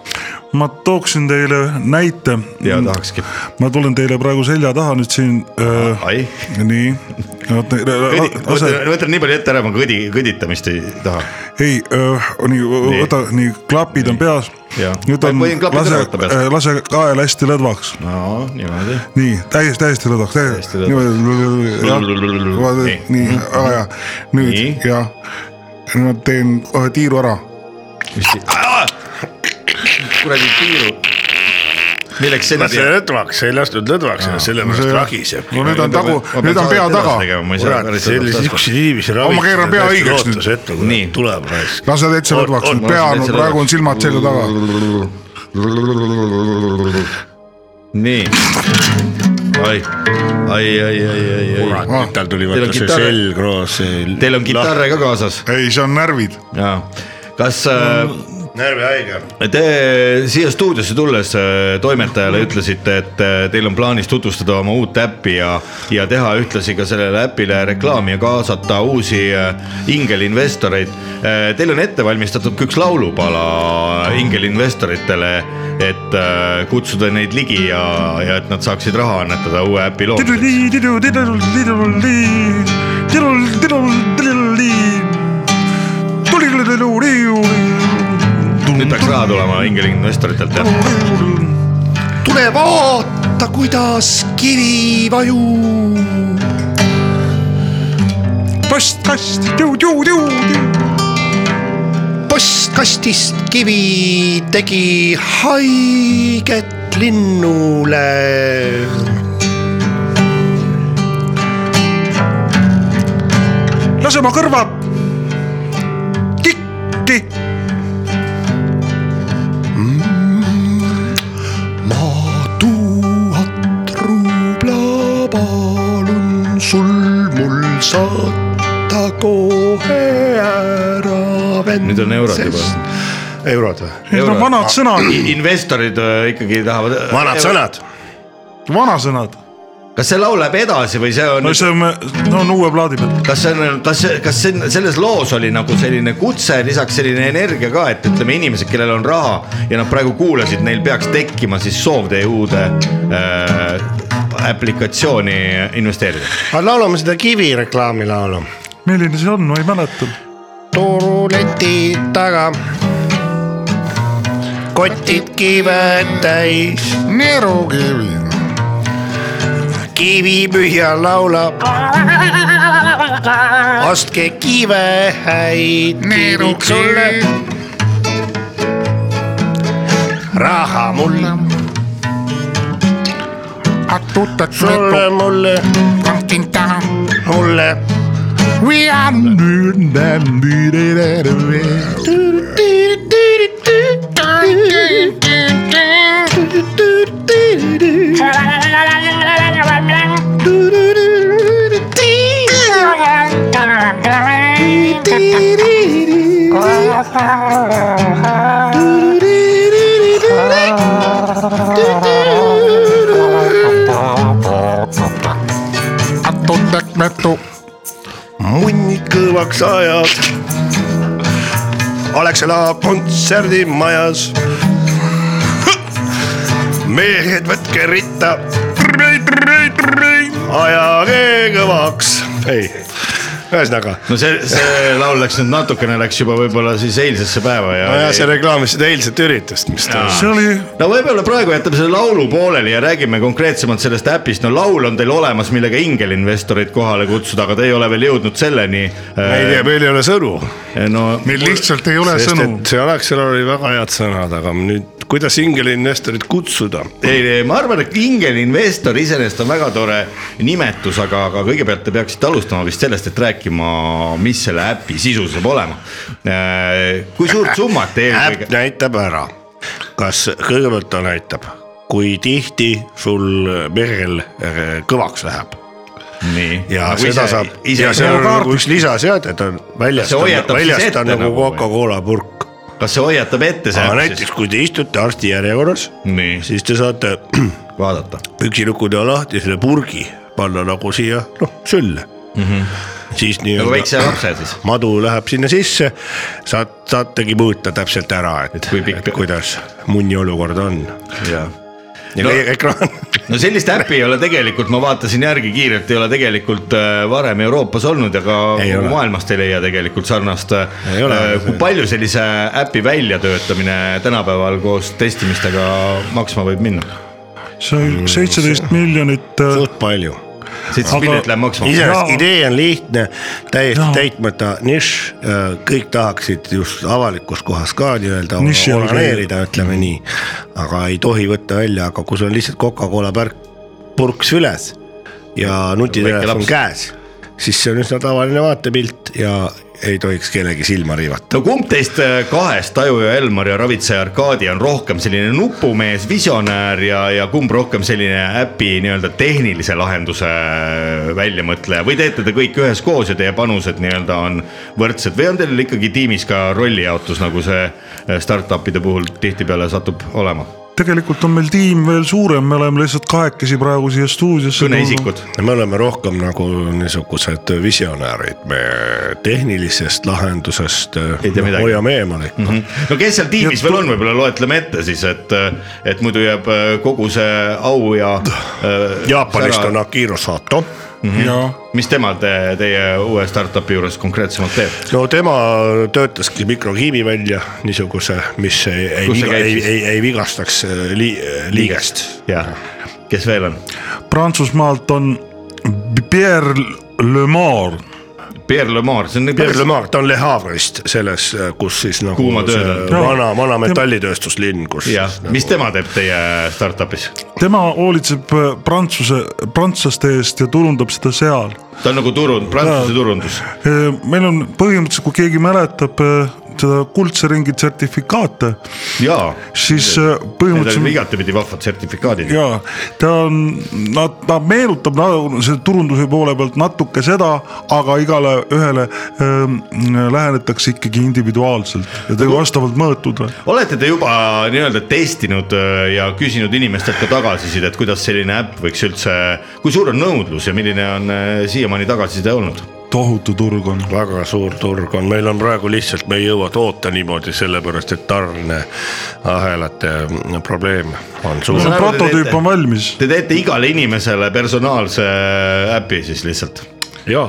[SPEAKER 6] ma tooksin teile näite .
[SPEAKER 4] ja tahakski .
[SPEAKER 6] ma tulen teile praegu selja taha nüüd siin äh, .
[SPEAKER 4] ai ,
[SPEAKER 6] nii .
[SPEAKER 4] võtan nii palju ette ära , ma kõdi , kõditamist ei taha .
[SPEAKER 6] ei , nii ,
[SPEAKER 4] Nii.
[SPEAKER 6] võta nii , klapid on peas
[SPEAKER 4] Jaa. .
[SPEAKER 6] nüüd
[SPEAKER 4] Ma
[SPEAKER 6] on
[SPEAKER 4] võin , klapid ära
[SPEAKER 6] lase äh,
[SPEAKER 4] võtta peast. ,
[SPEAKER 6] lase kael hästi lõdvaks .
[SPEAKER 4] no niimoodi .
[SPEAKER 6] nii , täiesti , täiesti lõdvaks ,
[SPEAKER 4] Täiesti
[SPEAKER 6] täiesti .
[SPEAKER 4] lõdvaks.
[SPEAKER 6] niimoodi
[SPEAKER 4] Nii. ,
[SPEAKER 6] nii , väga hea .
[SPEAKER 4] Nii.
[SPEAKER 6] nüüd , jah . nüüd ma teen kohe tiiru ära .
[SPEAKER 4] kuradi piiru . milleks see
[SPEAKER 5] las see lõdvaks , ei lastud lõdvaks , sellepärast ragiseb .
[SPEAKER 6] no nüüd on tagu , nüüd on pea taga .
[SPEAKER 5] kurat , niisuguseid inimesi
[SPEAKER 6] ma keeran pea õigeks nüüd.
[SPEAKER 4] Nii.
[SPEAKER 5] nüüd . tuleb raisk .
[SPEAKER 6] lase täitsa
[SPEAKER 5] On-
[SPEAKER 6] lõdvaks
[SPEAKER 5] on- ,
[SPEAKER 6] pea
[SPEAKER 4] lasen
[SPEAKER 6] on ,
[SPEAKER 4] täitsa
[SPEAKER 6] praegu on
[SPEAKER 4] lõdvaks.
[SPEAKER 6] silmad selja taga .
[SPEAKER 4] nii . ai , ai , ai , ai , ai , ai .
[SPEAKER 5] kurat ,
[SPEAKER 6] Ah.
[SPEAKER 5] nüüd tal tuli
[SPEAKER 4] Teil on
[SPEAKER 5] vaata see
[SPEAKER 4] kitarr-
[SPEAKER 5] selgroos , see
[SPEAKER 4] Teil on kitarre ka kaasas
[SPEAKER 6] ei , see on närvid .
[SPEAKER 4] ja kas äh,
[SPEAKER 5] närvihaige .
[SPEAKER 4] te siia stuudiosse tulles äh, toimetajale ütlesite , et äh, teil on plaanis tutvustada oma uut äppi ja , ja teha ühtlasi ka sellele äpile reklaami ja kaasata uusi äh, ingelinvestoreid . Teil on ette valmistatud ka üks laulupala ingelinvestoritele , et äh, kutsuda neid ligi ja , ja et nad saaksid raha annetada uue äpi loomiseks .
[SPEAKER 6] Tidu-lii, tidu, tidu-lii, tidu-lii, tidu-lii, tidu-lii, tidu-lii. Tulilililuu-liiu.
[SPEAKER 4] nüüd peaks raha tulema ingelinvestoritelt jah .
[SPEAKER 9] tule vaata , kuidas kivi vajub .
[SPEAKER 6] Postkast, tiu-tiu-tiu-tiu.
[SPEAKER 9] postkastist kivi tegi haiget linnule .
[SPEAKER 6] lase oma kõrvad kikki ,
[SPEAKER 9] ma tuhat ruubla palun sul mul saata kohe ära .
[SPEAKER 4] Nüüd on eurod juba. .
[SPEAKER 5] eurod või ?
[SPEAKER 6] need on
[SPEAKER 4] Eurod.
[SPEAKER 6] vanad sõnad ,
[SPEAKER 4] investorid äh, ikkagi tahavad .
[SPEAKER 5] vanad sõnad .
[SPEAKER 6] vanasõnad .
[SPEAKER 4] kas see laul läheb edasi või see on
[SPEAKER 6] no , see on , no on uue plaadi peal .
[SPEAKER 4] kas see on , kas , kas see on- selles loos oli nagu selline kutse , lisaks selline energia ka , et ütleme , inimesed , kellel on raha ja nad praegu kuulasid , neil peaks tekkima siis soov teie uude äh, aplikatsiooni investeerida .
[SPEAKER 5] aga laulame seda kivi reklaamilaulu .
[SPEAKER 6] milline see on , ma ei mäleta .
[SPEAKER 5] turuleti taga . kotid kived täis . neerukivi . kivipühja laulab . ostke kive häid , kivid sulle . raha mulle . sulle , mulle , mulle munnid kõvaks ajad . Alexela kontserdimajas . mehed , võtke ritta . ajage kõvaks . ei , ühesõnaga .
[SPEAKER 4] no see , see laul läks nüüd natukene , läks juba võib-olla siis eilsesse päeva ja,
[SPEAKER 5] nojah , see reklaamis seda eilset üritust , mis ta .
[SPEAKER 6] see oli ,
[SPEAKER 4] no võib-olla praegu jätame selle laulu pooleli ja räägime konkreetsemalt sellest äpist , no laul on teil olemas , millega ingelinvestoreid kohale kutsuda , aga te ei ole veel jõudnud selleni .
[SPEAKER 5] ma ei tea , meil ei ole sõnu .
[SPEAKER 4] no
[SPEAKER 6] meil lihtsalt ei ole
[SPEAKER 5] sest
[SPEAKER 6] sõnu .
[SPEAKER 5] et Alexelal oli väga head sõnad , aga nüüd , kuidas ingeliinvestorit kutsuda ?
[SPEAKER 4] ei , ei , ma arvan , et ingelinvestor iseenesest on väga tore nimetus , aga , aga kõigepealt te peaksite alustama vist sellest , et rääkima , mis selle äpi sisu saab olema . kui suurt summat te
[SPEAKER 5] äpp
[SPEAKER 4] eelkõige ,
[SPEAKER 5] näitab ära , kas kõigepealt ta näitab , kui tihti sul mehel äh, kõvaks läheb
[SPEAKER 4] nii .
[SPEAKER 5] ja nagu seda ise, saab ,
[SPEAKER 4] ise
[SPEAKER 5] ja , seal on nagu üks lisaseade , ta on väljas
[SPEAKER 4] See , hoiatab siis
[SPEAKER 5] väljas ta
[SPEAKER 4] ette
[SPEAKER 5] on nagu
[SPEAKER 4] nagu või?
[SPEAKER 5] Coca-Cola purk .
[SPEAKER 4] kas see hoiatab ette see
[SPEAKER 5] aga
[SPEAKER 4] äpp siis
[SPEAKER 5] näiteks , kui te istute arsti järjekorras ,
[SPEAKER 4] Nii.
[SPEAKER 5] siis te saate
[SPEAKER 4] vaadata ?
[SPEAKER 5] püksilukud on lahti selle purgi panna nagu siia noh sülle mm . -hmm. siis
[SPEAKER 4] Mhm. nagu
[SPEAKER 5] nii-öelda
[SPEAKER 4] väikse lapse siis .
[SPEAKER 5] madu läheb sinna sisse , saad , saategi mõõta täpselt ära , et
[SPEAKER 4] kui pikk-
[SPEAKER 5] kuidas munni olukord on
[SPEAKER 4] jaa
[SPEAKER 5] ja
[SPEAKER 4] No-
[SPEAKER 5] no. ekraan
[SPEAKER 4] no sellist äppi ei ole tegelikult , ma vaatasin järgi kiirelt , ei ole tegelikult äh, varem Euroopas olnud ja ka
[SPEAKER 5] Ei ole.
[SPEAKER 4] maailmast ei leia tegelikult sarnast .
[SPEAKER 5] Ei ole.
[SPEAKER 4] kui palju sellise äpi väljatöötamine tänapäeval koos testimistega maksma võib minna ?
[SPEAKER 6] see seitseteist miljonit äh,
[SPEAKER 5] suht palju .
[SPEAKER 4] seitse
[SPEAKER 6] Aga-
[SPEAKER 4] miljonit läheb maksma .
[SPEAKER 5] iseenesest
[SPEAKER 6] Jaa.
[SPEAKER 5] idee on lihtne , täiesti
[SPEAKER 6] Jaa.
[SPEAKER 5] no. täitmata nišš , kõik tahaksid just avalikus kohas ka nii-öelda
[SPEAKER 6] Niši all
[SPEAKER 5] oraneerida , ütleme nii . aga ei tohi võtta välja , aga kui sul on lihtsalt Coca-Cola pärk , purk süles ja nutitelefon
[SPEAKER 4] laps.
[SPEAKER 5] käes , siis see on üsna tavaline vaatepilt ja ei tohiks kellegi silma riivata .
[SPEAKER 4] no kumb teist äh, kahest , Taju ja Elmar ja ravitseja Arkadi on rohkem selline nupumees , visionäär ja , ja kumb rohkem selline äpi nii-öelda tehnilise lahenduse äh, väljamõtleja või teete te kõik üheskoos ja teie panused nii-öelda on võrdsed või on teil ikkagi tiimis ka rollijaotus , nagu see äh, startup'ide puhul tihtipeale satub olema ?
[SPEAKER 6] tegelikult on meil tiim veel suurem , me oleme lihtsalt kahekesi praegu siia stuudiosse .
[SPEAKER 4] kõneisikud ,
[SPEAKER 5] me oleme rohkem nagu niisugused visionäärid , me tehnilisest lahendusest
[SPEAKER 4] Ei tea midagi.
[SPEAKER 5] noh,
[SPEAKER 4] Mhm.
[SPEAKER 5] hoiame eemale ikka mm . -hmm.
[SPEAKER 4] no kes seal tiimis veel on , võib-olla loetleme ette siis , et , et muidu jääb äh, kogu see au ja . äh,
[SPEAKER 5] Jaapanist on Akiro Sato
[SPEAKER 6] jaa ,
[SPEAKER 4] mis tema te, teie uue startup'i juures konkreetsemalt teeb ?
[SPEAKER 5] no tema töötaski mikrokiimi välja niisuguse , mis ei , ei,
[SPEAKER 4] Kus see
[SPEAKER 5] viga,
[SPEAKER 4] käib
[SPEAKER 5] ei,
[SPEAKER 4] siis?
[SPEAKER 5] ei , ei vigastaks äh, lii- , liigest .
[SPEAKER 4] jah , kes veel on ?
[SPEAKER 6] Prantsusmaalt on Pierre Le Mar ,
[SPEAKER 4] Pierre Lemar , see on nagu-
[SPEAKER 5] Pierre
[SPEAKER 4] päris ,
[SPEAKER 5] Lemar , ta on Le Havre'ist selles , kus siis nagu
[SPEAKER 4] Kuuma
[SPEAKER 5] see
[SPEAKER 4] tööle.
[SPEAKER 5] vana , vana
[SPEAKER 6] Tema-
[SPEAKER 5] metallitööstuslinn , kus
[SPEAKER 4] jah
[SPEAKER 5] siis ,
[SPEAKER 4] mis tema teeb teie startup'is ?
[SPEAKER 6] tema hoolitseb äh, prantsuse , prantslaste eest ja turundab seda seal .
[SPEAKER 4] ta on nagu turund , prantsuse turundus .
[SPEAKER 6] meil on põhimõtteliselt , kui keegi mäletab äh, seda kuldse ringi sertifikaate ,
[SPEAKER 4] jaa ,
[SPEAKER 6] siis äh,
[SPEAKER 4] need on
[SPEAKER 6] põhimõtteliselt
[SPEAKER 4] igatepidi vahvad sertifikaadid .
[SPEAKER 6] ja ta on , nad , ta meenutab na- see turunduse poole pealt natuke seda , aga igale ühele ähm, lähenetakse ikkagi individuaalselt ja te- vastavalt mõõtuda .
[SPEAKER 4] olete te juba nii-öelda testinud öö, ja küsinud inimestelt ka tagasisidet , kuidas selline äpp võiks üldse , kui suur on nõudlus ja milline on öö, siiamaani tagasiside olnud ?
[SPEAKER 6] tohutu turg on .
[SPEAKER 5] väga suur turg on , meil on praegu lihtsalt , me ei jõua toota niimoodi , sellepärast et tarneahelate mm, probleem on
[SPEAKER 4] saan
[SPEAKER 5] suur
[SPEAKER 4] aru, . te
[SPEAKER 6] prototüüp
[SPEAKER 4] teete-
[SPEAKER 6] on valmis .
[SPEAKER 4] Te teete igale inimesele personaalse äh, äpi siis lihtsalt ?
[SPEAKER 5] ja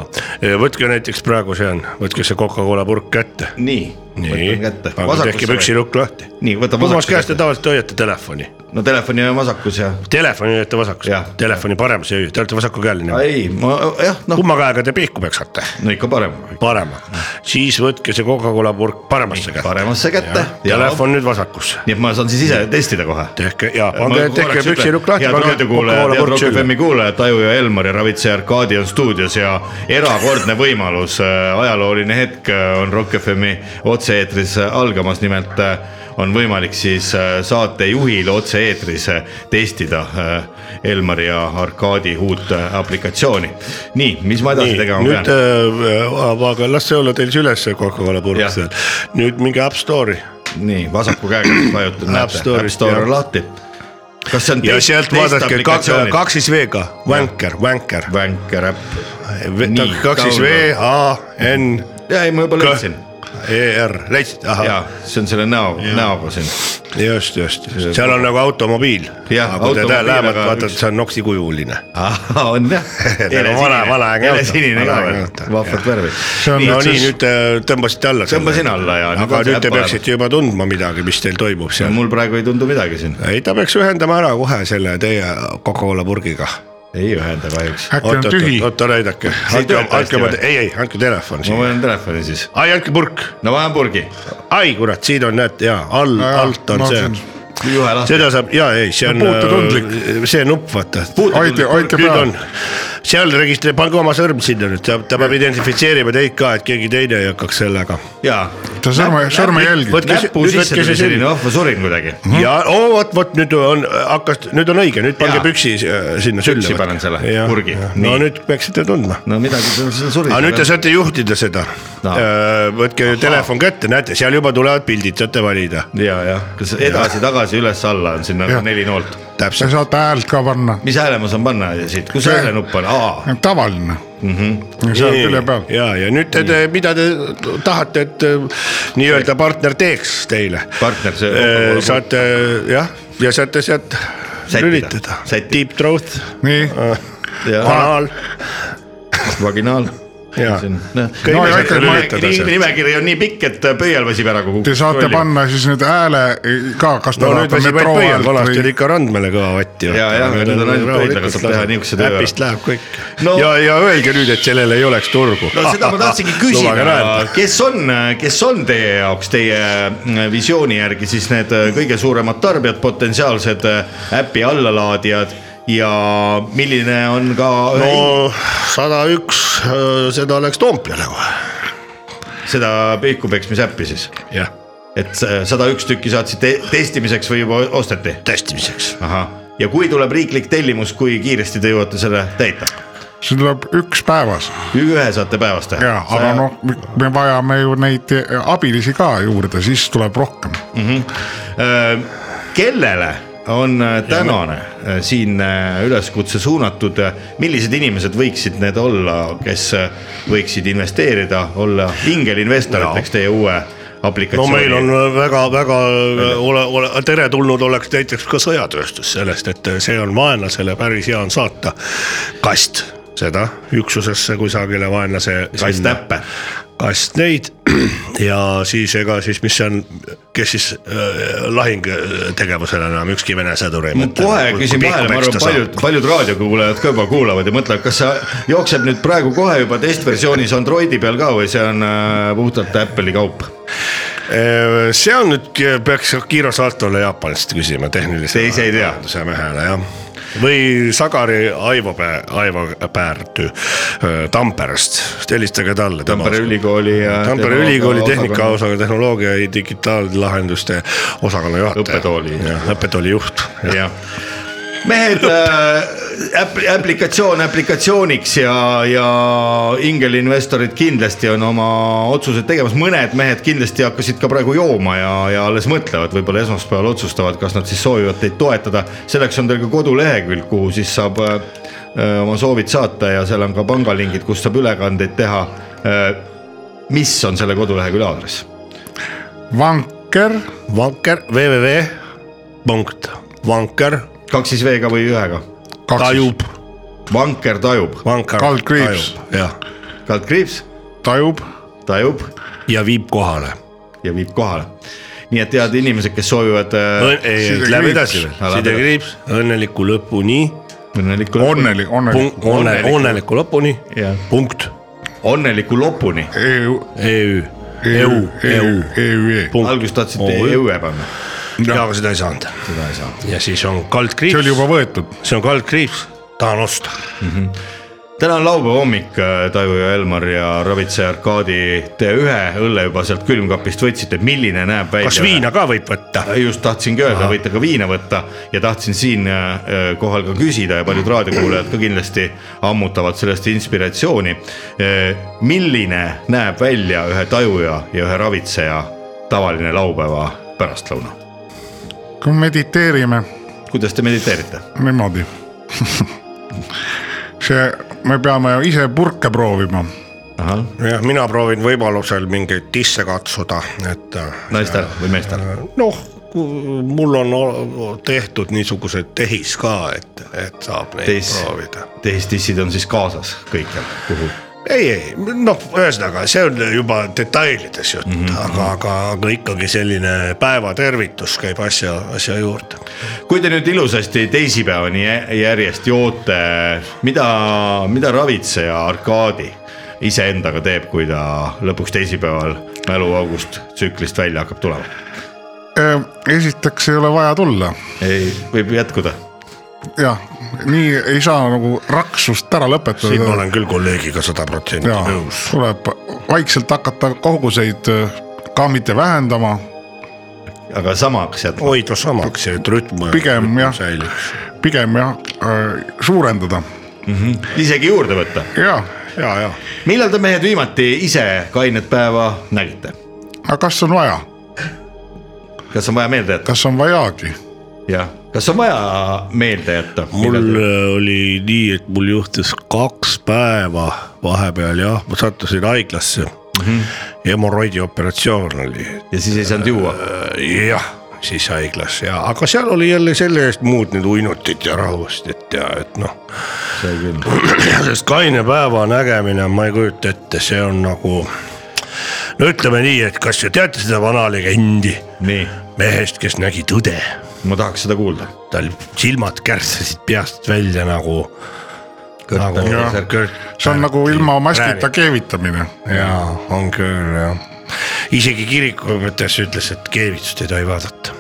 [SPEAKER 5] võtke näiteks praegu see on , võtke see Coca-Cola purk kätte .
[SPEAKER 4] nii,
[SPEAKER 5] nii
[SPEAKER 4] võtan , kätte .
[SPEAKER 5] aga tehke püksilukk lahti .
[SPEAKER 4] Nii, võtan
[SPEAKER 5] kummas
[SPEAKER 4] vasakusse
[SPEAKER 5] käes te
[SPEAKER 4] kätte.
[SPEAKER 5] tavaliselt hoiate telefoni ?
[SPEAKER 4] no telefoni on vasakus ja .
[SPEAKER 5] Telefoni hoiate vasakus
[SPEAKER 4] Jah. ,
[SPEAKER 5] telefoni paremas ei hoia , te olete vasakukäeline .
[SPEAKER 4] ei , ma jah , noh ,
[SPEAKER 5] kumma käega te pihku peksate ?
[SPEAKER 4] no ikka parem . Mm.
[SPEAKER 5] paremaga , siis võtke see Coca-Cola purk paremasse kätte .
[SPEAKER 4] paremasse kätte .
[SPEAKER 5] Telefon nüüd vasakusse .
[SPEAKER 4] nii et ma saan siis ise testida kohe .
[SPEAKER 5] tehke ja pange , tehke püksilukk lahti ,
[SPEAKER 4] head
[SPEAKER 5] pange
[SPEAKER 4] raadiokuulajad ,
[SPEAKER 5] Coca-Cola
[SPEAKER 4] head
[SPEAKER 5] purk
[SPEAKER 4] Rock
[SPEAKER 5] sülle .
[SPEAKER 4] FM-i kuulajad , Taju ja Elmar ja ravitseja Arkadi on stuudios ja erakordne võimalus , ajalooline hetk äh, on Rock FM-i otse-eetris äh, algamas , nimelt äh, on võimalik siis äh, saatejuhil otse-eetris äh, testida äh, Elmari ja Arkadi uut äh, aplikatsiooni . nii , mis ma edasi
[SPEAKER 5] nii ,
[SPEAKER 4] tegema
[SPEAKER 5] nüüd
[SPEAKER 4] pean ?
[SPEAKER 5] äh, aga las see olla teil süles , see Coca-Cola purk
[SPEAKER 4] Jah.
[SPEAKER 5] seal . nüüd minge App Store'i
[SPEAKER 4] nii vasaku käega vajutan ,
[SPEAKER 5] App
[SPEAKER 4] näete , App
[SPEAKER 5] Store'ist,
[SPEAKER 4] Store on
[SPEAKER 5] jah.
[SPEAKER 4] lahti . kas see on
[SPEAKER 5] ja
[SPEAKER 4] test-
[SPEAKER 5] sealt
[SPEAKER 4] test
[SPEAKER 5] vaadake kaks
[SPEAKER 4] aplikatsioonid? ,
[SPEAKER 5] kaks siis V-ga , Wanker , Wanker .
[SPEAKER 4] Vänker äpp . Nii,
[SPEAKER 5] kaks siis V
[SPEAKER 4] download.
[SPEAKER 5] A N
[SPEAKER 4] ja ei , ma juba
[SPEAKER 5] K
[SPEAKER 4] leidsin
[SPEAKER 5] E R , leidsid ,
[SPEAKER 4] ja
[SPEAKER 5] ahah ,
[SPEAKER 4] see on selle näo , näoga siin .
[SPEAKER 5] just , just , seal on nagu automobiil .
[SPEAKER 4] Jah,
[SPEAKER 5] aga kui te
[SPEAKER 4] automobiil,
[SPEAKER 5] tähele lähevad ,
[SPEAKER 4] aga
[SPEAKER 5] vaatad ,
[SPEAKER 4] üks-
[SPEAKER 5] see on noksi kujuline .
[SPEAKER 4] on jah
[SPEAKER 5] Nagu . vana- vanaaegne auto.
[SPEAKER 4] sinine ka
[SPEAKER 5] Vanaaegne
[SPEAKER 4] veel
[SPEAKER 5] auto, ,
[SPEAKER 4] vahvad
[SPEAKER 5] jah.
[SPEAKER 4] värvid .
[SPEAKER 5] no nii , nüüd te tõmbasite alla .
[SPEAKER 4] Tõmbasin alla ja nüüd
[SPEAKER 5] aga
[SPEAKER 4] on see
[SPEAKER 5] nüüd
[SPEAKER 4] äpp
[SPEAKER 5] te
[SPEAKER 4] olemas. Mm.
[SPEAKER 5] peaksite juba tundma midagi , mis teil toimub seal .
[SPEAKER 4] mul praegu ei tundu midagi siin ,
[SPEAKER 5] ei , ta peaks ühendama ära kohe selle teie Coca-Cola purgiga .
[SPEAKER 4] ei ühenda kahjuks .
[SPEAKER 6] äkki on tühi ?
[SPEAKER 5] oota , näidake ,
[SPEAKER 4] ei
[SPEAKER 5] andke
[SPEAKER 4] tööta , hästi
[SPEAKER 5] andke oma
[SPEAKER 4] või? , Mm.
[SPEAKER 5] ei , ei , andke telefon
[SPEAKER 4] ma
[SPEAKER 5] siia .
[SPEAKER 4] võin telefoni siis ,
[SPEAKER 5] ai , andke purk ,
[SPEAKER 4] no ma lähen purgi ,
[SPEAKER 5] ai kurat , siin on , näed , jaa , all , alt on see .
[SPEAKER 4] juhe lahti .
[SPEAKER 5] seda saab ja ei , see on äh,
[SPEAKER 6] No puutetundlik. ,
[SPEAKER 5] see nupp , vaata .
[SPEAKER 6] Aite-
[SPEAKER 5] nüüd
[SPEAKER 6] aite peale.
[SPEAKER 5] on , seal registreerib , pange oma sõrm sinna nüüd , ta peab identifitseerima teid ka , et keegi teine ei hakkaks sellega .
[SPEAKER 4] ja ,
[SPEAKER 9] ta sõrme , sõrmejälgi .
[SPEAKER 5] Võtke see-
[SPEAKER 4] näpu
[SPEAKER 5] nüüd
[SPEAKER 4] sisse
[SPEAKER 5] võtke
[SPEAKER 4] tuli
[SPEAKER 5] see
[SPEAKER 4] selline
[SPEAKER 5] sõrm.
[SPEAKER 4] vahva surin kuidagi .
[SPEAKER 5] ja oo , vot , vot nüüd on , hakkas , nüüd on õige , nüüd pange
[SPEAKER 4] Jaa.
[SPEAKER 5] püksi äh, sinna sülle .
[SPEAKER 4] Püksi panen selle, purgi.
[SPEAKER 5] no
[SPEAKER 4] Nii.
[SPEAKER 5] nüüd peaksite tundma .
[SPEAKER 4] no midagi seal seal surin .
[SPEAKER 5] aga nüüd te saate juhtida seda
[SPEAKER 4] No.
[SPEAKER 5] no. . võtke Aha. telefon kätte , näete , seal juba tulevad pildid , saate valida .
[SPEAKER 4] ja , jah , kas edasi-tagasi üles-alla on sinna neli noolt ,
[SPEAKER 5] täpselt ,
[SPEAKER 9] sa saad häält ka panna .
[SPEAKER 4] mis hääle ma saan panna siit , kus häälenupp on , aa ,
[SPEAKER 9] tavaline mm .
[SPEAKER 4] Mhm.
[SPEAKER 9] -hmm. seal külje peal .
[SPEAKER 5] ja , ja nüüd te, te , mida te tahate , et eh, nii-öelda partner teeks teile ?
[SPEAKER 4] Partner, see- kokku-
[SPEAKER 5] saate jah , ja saate sealt
[SPEAKER 4] Sättida.
[SPEAKER 5] lülitada .
[SPEAKER 4] Sättida.
[SPEAKER 5] Deep Throat ,
[SPEAKER 9] nii ,
[SPEAKER 4] Äh.
[SPEAKER 5] Kanal .
[SPEAKER 4] vaginaal . noh.
[SPEAKER 5] ja ,
[SPEAKER 9] No ja ikka ma-
[SPEAKER 4] nimekiri on nii pikk , et pöial väsib ära kogu .
[SPEAKER 9] te saate . panna siis nüüd hääle eh, ka , kas te
[SPEAKER 4] Noh,
[SPEAKER 5] no nüüd
[SPEAKER 9] tahate
[SPEAKER 5] väsib
[SPEAKER 9] metroo
[SPEAKER 5] ainult pöial ,
[SPEAKER 9] häält
[SPEAKER 5] vanasti oli
[SPEAKER 9] või .
[SPEAKER 5] ikka Randmele kõva vatt ju .
[SPEAKER 4] Ja, ja, nüüd on ainult pöidlaga saab teha niisuguse töö ära.
[SPEAKER 5] äpist läheb kõik
[SPEAKER 4] No-
[SPEAKER 5] no. . ja , ja öelge nüüd , et sellel ei oleks turgu .
[SPEAKER 4] no seda ma tahtsingi küsida , kes on , kes on teie jaoks , teie äh, visiooni järgi siis need äh, kõige suuremad tarbijad , potentsiaalsed äh, äpi allalaadijad ja milline on ka
[SPEAKER 5] no
[SPEAKER 4] no. äh,
[SPEAKER 5] sada üks , seda oleks Toompeale kohe .
[SPEAKER 4] seda pihkupekmisäppi siis ?
[SPEAKER 5] jah ,
[SPEAKER 4] et sada üks tükki saatsite testimiseks või juba osteti ?
[SPEAKER 5] testimiseks .
[SPEAKER 4] ahah , ja kui tuleb riiklik tellimus , kui kiiresti te jõuate selle täita ?
[SPEAKER 9] see tuleb üks päevas
[SPEAKER 4] ühe saate päevas teha .
[SPEAKER 9] ja , aga noh , me vajame ju neid eh, abilisi ka juurde , siis tuleb rohkem .
[SPEAKER 4] Äh, kellele on äh, tänane äh, siin üleskutse suunatud , millised inimesed võiksid need olla , kes äh, võiksid investeerida , olla hingelinvestoriteks teie uue
[SPEAKER 5] no
[SPEAKER 4] aplikatsiooni ?
[SPEAKER 5] meil on väga-väga ole , ole teretulnud oleks näiteks ka sõjatööstus sellest , et see on vaenlasele päris hea on saata kast seda üksusesse kusagile vaenlase .
[SPEAKER 4] kast näppe ,
[SPEAKER 5] kast neid ja siis ega siis , mis see on , kes siis äh, lahing äh, tegevusel enam ükski vene sõdur ei
[SPEAKER 4] ma
[SPEAKER 5] mõtle . nagu,
[SPEAKER 4] kohe küsin vahele , ma arvan , paljud , paljud raadiokuulajad ka juba kuulavad ja mõtlevad , kas see jookseb nüüd praegu kohe juba testversioonis Androidi peal ka või see on äh, puhtalt Apple'i kaup ?
[SPEAKER 5] see on nüüd , peaks Akira Saltole Jaapanist küsima tehnilise .
[SPEAKER 4] Te ise ei tea?
[SPEAKER 5] see mehele jah , või Sagari Aivo Pää- , Aivo Päärtü öö, Tamperest , helistage talle .
[SPEAKER 4] Tampere ülikooli ja .
[SPEAKER 5] Tampere ülikooli tehnikaosakonna tehnoloogia ja digitaallahenduste osakonna juhataja .
[SPEAKER 4] Õppetooli.
[SPEAKER 5] jah , õppetooli juht .
[SPEAKER 4] jah , mehed äh, , aplikatsioon aplikatsiooniks ja , ja ingelinvestorid kindlasti on oma otsused tegemas , mõned mehed kindlasti hakkasid ka praegu jooma ja , ja alles mõtlevad , võib-olla esmaspäeval otsustavad , kas nad siis soovivad teid toetada . selleks on teil ka kodulehekülg , kuhu siis saab äh, äh, oma soovid saata ja seal on ka pangalingid , kust saab ülekandeid teha äh, mis on selle kodulehekülje aadress ?
[SPEAKER 9] vanker
[SPEAKER 5] vanker www punkt vanker
[SPEAKER 4] kaks siis V-ga või ühega ?
[SPEAKER 5] tajub ,
[SPEAKER 4] vanker tajub ,
[SPEAKER 5] vanker
[SPEAKER 9] Kaldkriips.
[SPEAKER 5] tajub, jah ,
[SPEAKER 4] kaldkriips ,
[SPEAKER 9] tajub ,
[SPEAKER 4] tajub
[SPEAKER 5] ja viib kohale .
[SPEAKER 4] ja viib kohale . nii et head inimesed , kes soovivad äh,
[SPEAKER 9] sidekriips.
[SPEAKER 5] Läheme edasi veel ,
[SPEAKER 4] Läheme
[SPEAKER 5] sidekriips õnneliku lõpuni ,
[SPEAKER 4] õnneliku lõpuni ,
[SPEAKER 9] onnelik , onnelik .
[SPEAKER 5] õnneliku lõpuni
[SPEAKER 4] Jah. ,
[SPEAKER 5] punkt E
[SPEAKER 4] õnneliku lõpuni ,
[SPEAKER 9] EU ,
[SPEAKER 5] EU , EU ,
[SPEAKER 9] EU ,
[SPEAKER 5] EU
[SPEAKER 9] EU ,, EÜE .
[SPEAKER 5] punkt .
[SPEAKER 4] alguses tahtsite jõue panna ,
[SPEAKER 5] jaa , aga seda ei saanud . seda ei saanud . ja siis on kaldkriips .
[SPEAKER 9] see oli juba . võetud .
[SPEAKER 5] see on kaldkriips , tahan osta .
[SPEAKER 4] täna on laupäeva hommik , Taivo ja Elmar ja Ravitseja Arkadi , te ühe õlle juba sealt külmkapist võtsite , milline näeb välja ?
[SPEAKER 5] kas viina ka võib võtta ?
[SPEAKER 4] Äh, just tahtsingi öelda , võite ka viina võtta ja tahtsin siinkohal ka küsida ja paljud raadiokuulajad ka kindlasti ammutavad sellest inspiratsiooni . milline näeb välja ühe tajuja ja ühe ravitseja tavaline laupäeva pärastlõuna ?
[SPEAKER 9] kui mediteerime
[SPEAKER 4] kuidas te mediteerite ?
[SPEAKER 9] niimoodi . see , me peame ju ise purke proovima ,
[SPEAKER 5] jah , mina proovin võimalusel mingeid disse katsuda , et .
[SPEAKER 4] naistel või meestel ?
[SPEAKER 5] noh , mul on o- tehtud niisugused tehis ka , et , et saab neid
[SPEAKER 4] Tehis.
[SPEAKER 5] proovida .
[SPEAKER 4] tehistissid on siis kaasas kõikjal , kuhu ?
[SPEAKER 5] ei , ei noh , ühesõnaga see on juba detailides jutt mm , -hmm. aga , aga , aga ikkagi selline päevatervitus käib asja , asja juurde .
[SPEAKER 4] kui te nüüd ilusasti teisipäevani jä- järjest joote , mida , mida ravitseja Arkadi iseendaga teeb , kui ta lõpuks teisipäeval mäluaugust tsüklist välja hakkab tulema ?
[SPEAKER 9] Äh, esiteks ei ole vaja tulla
[SPEAKER 4] ei , võib jätkuda .
[SPEAKER 9] jah , nii ei saa nagu raksust ära
[SPEAKER 5] siin ma
[SPEAKER 9] lõpetada .
[SPEAKER 5] olen küll kolleegiga sada protsenti
[SPEAKER 9] ja
[SPEAKER 5] nõus .
[SPEAKER 9] tuleb vaikselt hakata koguseid äh, ka mitte vähendama ,
[SPEAKER 4] aga samaks jätkub .
[SPEAKER 5] hoida samaks , et rütm .
[SPEAKER 9] Pigem, jah.
[SPEAKER 5] säiliks .
[SPEAKER 9] pigem jah äh, suurendada
[SPEAKER 4] isegi juurde võtta .
[SPEAKER 9] ja ,
[SPEAKER 5] ja , ja
[SPEAKER 4] millal te mehed viimati ise kainet päeva nägite ?
[SPEAKER 9] aga kas on vaja ,
[SPEAKER 4] kas on vaja meelde jätta ?
[SPEAKER 9] kas on vajagi ,
[SPEAKER 4] jah , kas on vaja meelde jätta ?
[SPEAKER 5] mul äh, oli nii , et mul juhtus kaks päeva vahepeal jah , ma sattusin haiglasse mm -hmm. . hemoroidi operatsioon oli
[SPEAKER 4] ja siis ei saanud juua .
[SPEAKER 5] Äh, jah , siis haiglas ja , aga seal oli jälle selle eest muud nüüd uinutit ja rahustit ja et noh . sest kaine päeva nägemine , ma ei kujuta ette , see on nagu . no ütleme nii , et kas te teate seda vana legendi
[SPEAKER 4] nii ,
[SPEAKER 5] mehest , kes nägi tõde ,
[SPEAKER 4] ma tahaks seda kuulda .
[SPEAKER 5] tal silmad kärtsasid peast välja nagu . Nagu,
[SPEAKER 9] Jah.
[SPEAKER 5] Kört-
[SPEAKER 9] see on nagu ilma maskita
[SPEAKER 5] räägib.
[SPEAKER 9] keevitamine .
[SPEAKER 5] jaa , on küll jah , isegi kirikuõpetaja ütles , et keevitust ei tohi vaadata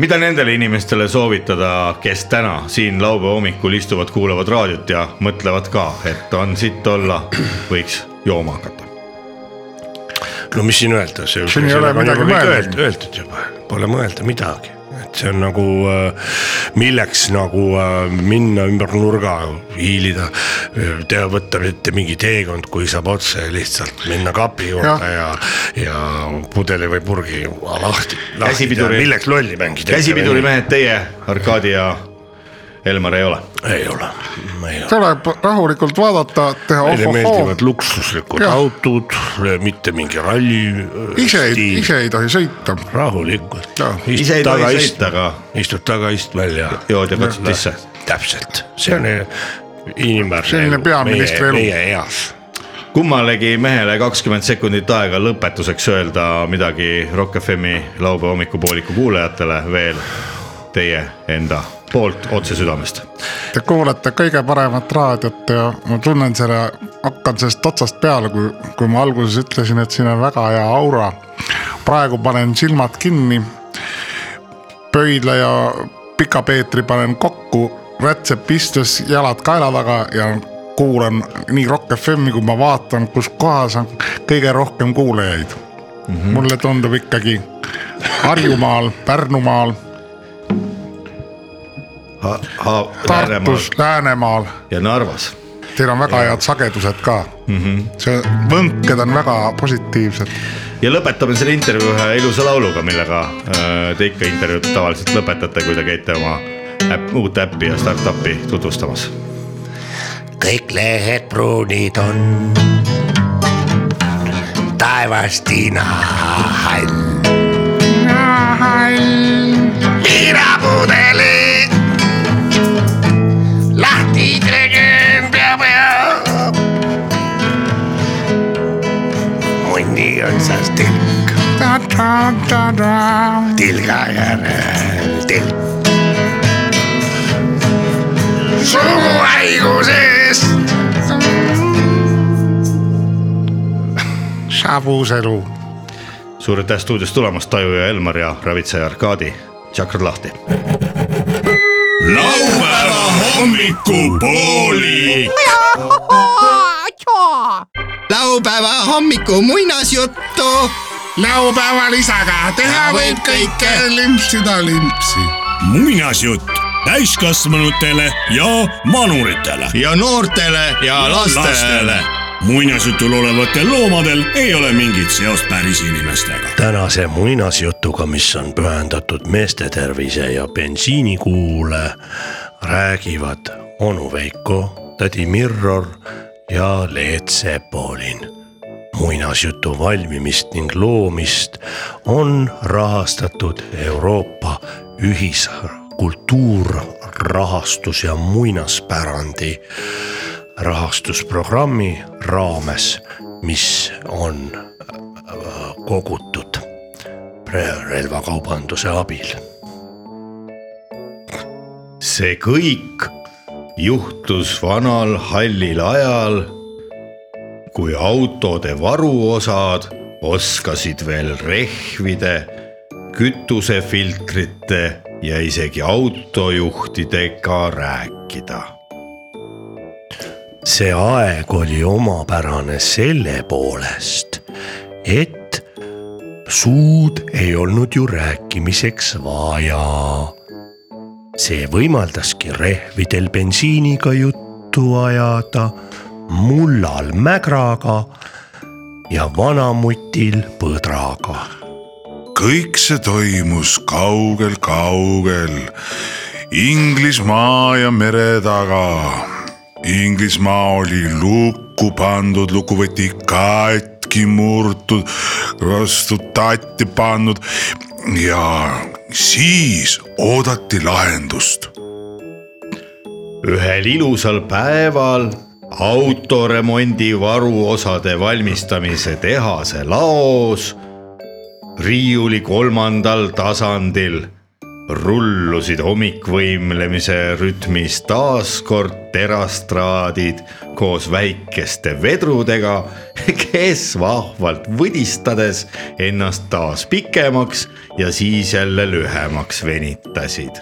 [SPEAKER 4] mida nendele inimestele soovitada , kes täna siin laupäeva hommikul istuvad , kuulavad raadiot ja mõtlevad ka , et on sitt olla , võiks jooma hakata .
[SPEAKER 5] no mis siin öelda , see
[SPEAKER 9] Siin ei ole midagi mõeldud.
[SPEAKER 5] öeldud, öeldud juba , pole mõelda midagi , et see on nagu äh, milleks nagu äh, minna ümber nurga , hiilida , teha , võtta ette mingi teekond , kui saab otse lihtsalt minna kapi juurde ja , ja, ja pudeli või purgi lahti, lahti .
[SPEAKER 4] Käsipiduri-
[SPEAKER 5] milleks lolli mängida ?
[SPEAKER 4] käsipidurimehed , teie , Arkadi ja Elmar ei ole .
[SPEAKER 5] ei ole , ei ole .
[SPEAKER 9] tuleb rahulikult vaadata , teha
[SPEAKER 5] Neile
[SPEAKER 9] ohohoo
[SPEAKER 5] meeldivad , luksuslikud
[SPEAKER 9] Jah.
[SPEAKER 5] autod , mitte mingi ralli .
[SPEAKER 9] ise ei , ise ei tohi sõita .
[SPEAKER 5] rahulikult
[SPEAKER 9] Jaa. .
[SPEAKER 4] ise ei tohi sõita , aga
[SPEAKER 5] istud taga , istud välja .
[SPEAKER 4] jood ja katsud sisse .
[SPEAKER 5] täpselt , see on inimväärne .
[SPEAKER 9] Selline peaministri elu.
[SPEAKER 5] meie eas .
[SPEAKER 4] kummalegi mehele kakskümmend sekundit aega lõpetuseks öelda midagi Rock FM-i laupäeva hommikupooliku kuulajatele veel teie enda poolt otse südamest .
[SPEAKER 9] Te kuulete kõige paremat raadiot ja ma tunnen selle , hakkan sellest otsast peale , kui , kui ma alguses ütlesin , et siin on väga hea aura . praegu panen silmad kinni . pöidla ja Pika Peetri panen kokku , rätsep istus , jalad kaela taga ja kuulan nii Rock FM-i , kui ma vaatan , kus kohas on kõige rohkem kuulajaid mm . -hmm. mulle tundub ikkagi Harjumaal , Pärnumaal , Tartus , Läänemaal
[SPEAKER 4] ja Narvas
[SPEAKER 9] Teil on väga head sagedused ka mm .
[SPEAKER 5] Mhm.
[SPEAKER 9] -hmm. see , võnked on väga positiivsed .
[SPEAKER 4] ja lõpetame selle intervjuu ühe ilusa lauluga , millega äh, te ikka intervjuud tavaliselt lõpetate , kui te käite oma äpp, uut äppi ja startup'i tutvustamas .
[SPEAKER 5] kõik lehed pruunid on . taevas tinahall . liinapudeli . lahti tegin pea pea . mundi otsas tilk , tilga järel tilk . suguhaigusest .
[SPEAKER 9] sabus elu .
[SPEAKER 4] suur aitäh stuudios tulemast , Taju ja Elmar ja ravitseja Arkadi , tšakrad lahti .
[SPEAKER 1] laupäeva hommikupoolik .
[SPEAKER 10] laupäeva hommiku muinasjuttu .
[SPEAKER 9] laupäeval isaga teha
[SPEAKER 10] võib kõike. ,
[SPEAKER 9] limpsida limpsi .
[SPEAKER 8] muinasjutt täiskasvanutele ja manuritele .
[SPEAKER 1] ja noortele ja lastele .
[SPEAKER 8] muinasjutul olevatel loomadel ei ole mingit seost päris inimestega .
[SPEAKER 5] tänase muinasjutuga , mis on pühendatud meeste tervise ja bensiinikuule , räägivad onu Veiko , tädi Mirror ja Leet Sepolin . muinasjutu valmimist ning loomist on rahastatud Euroopa ühiskultuurrahastus ja muinaspärandi rahastusprogrammi raames , mis on äh, kogutud pre- relvakaubanduse abil .
[SPEAKER 4] see kõik juhtus vanal hallil ajal , kui autode varuosad oskasid veel rehvide , kütusefiltrite ja isegi autojuhtidega rääkida
[SPEAKER 5] see aeg oli omapärane selle poolest , et suud ei olnud ju rääkimiseks vaja . see võimaldaski rehvidel bensiiniga juttu ajada , mullal mägraga ja vanamutil põdraga
[SPEAKER 11] kõik see toimus kaugel-kaugel Inglismaa ja mere taga. Inglismaa oli lukku pandud, luku võeti katki murtud, vastu tatti pannud ja siis oodati lahendust .
[SPEAKER 4] ühel ilusal päeval autoremondi varuosade valmistamise tehase laos riiuli kolmandal tasandil rullusid hommikvõimlemise rütmis taas kord terastraadid koos väikeste vedrudega , kes vahvalt võdistades ennast taas pikemaks ja siis jälle lühemaks venitasid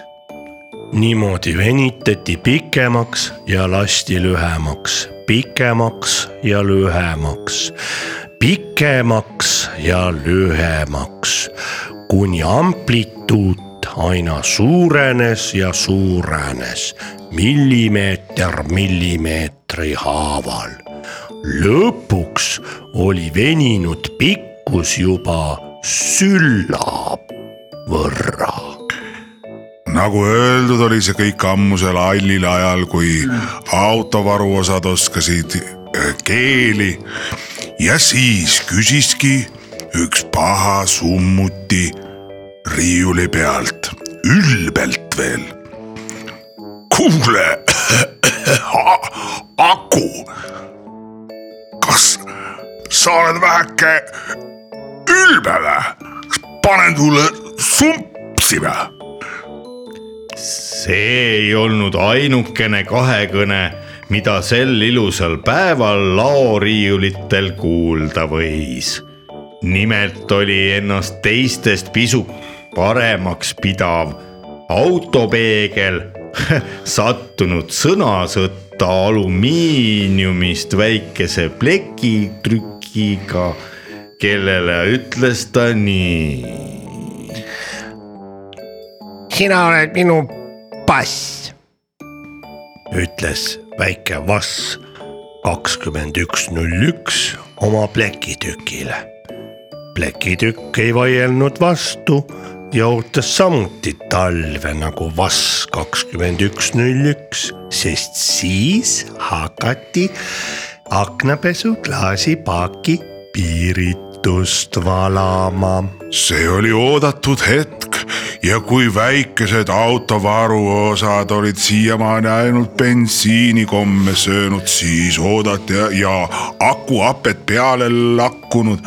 [SPEAKER 5] niimoodi venitati pikemaks ja lasti lühemaks , pikemaks ja lühemaks , pikemaks ja lühemaks , kuni amplituut aina suurenes ja suurenes millimeeter millimeetri haaval . lõpuks oli veninud pikkus juba sülla võrra
[SPEAKER 11] nagu öeldud , oli see kõik ammusel hallil ajal , kui autovaruosad oskasid äh, keeli . ja siis küsiski üks paha summuti riiuli pealt , ülbelt veel . kuule , Aku , kas sa oled väheke ülbe või ? kas panen sulle sumpsi või ?
[SPEAKER 4] see ei olnud ainukene kahekõne , mida sel ilusal päeval laoriiulitel kuulda võis . nimelt oli ennast teistest pisut paremaks pidav autopeegel sattunud sõnasõtta alumiiniumist väikese plekitrükiga , kellele ütles ta nii
[SPEAKER 5] sina oled minu pass . ütles väike vass kakskümmend üks null üks oma plekitükile . plekitükk ei vaielnud vastu ja ootas samuti talve nagu vass kakskümmend üks null üks , sest siis hakati aknapesuklaasipaaki piiritust valama
[SPEAKER 11] see oli oodatud hetk ja kui väikesed autovaruosad olid siiamaani ainult bensiinikomme söönud , siis oodati ja, ja akuhapet peale lakkunud ,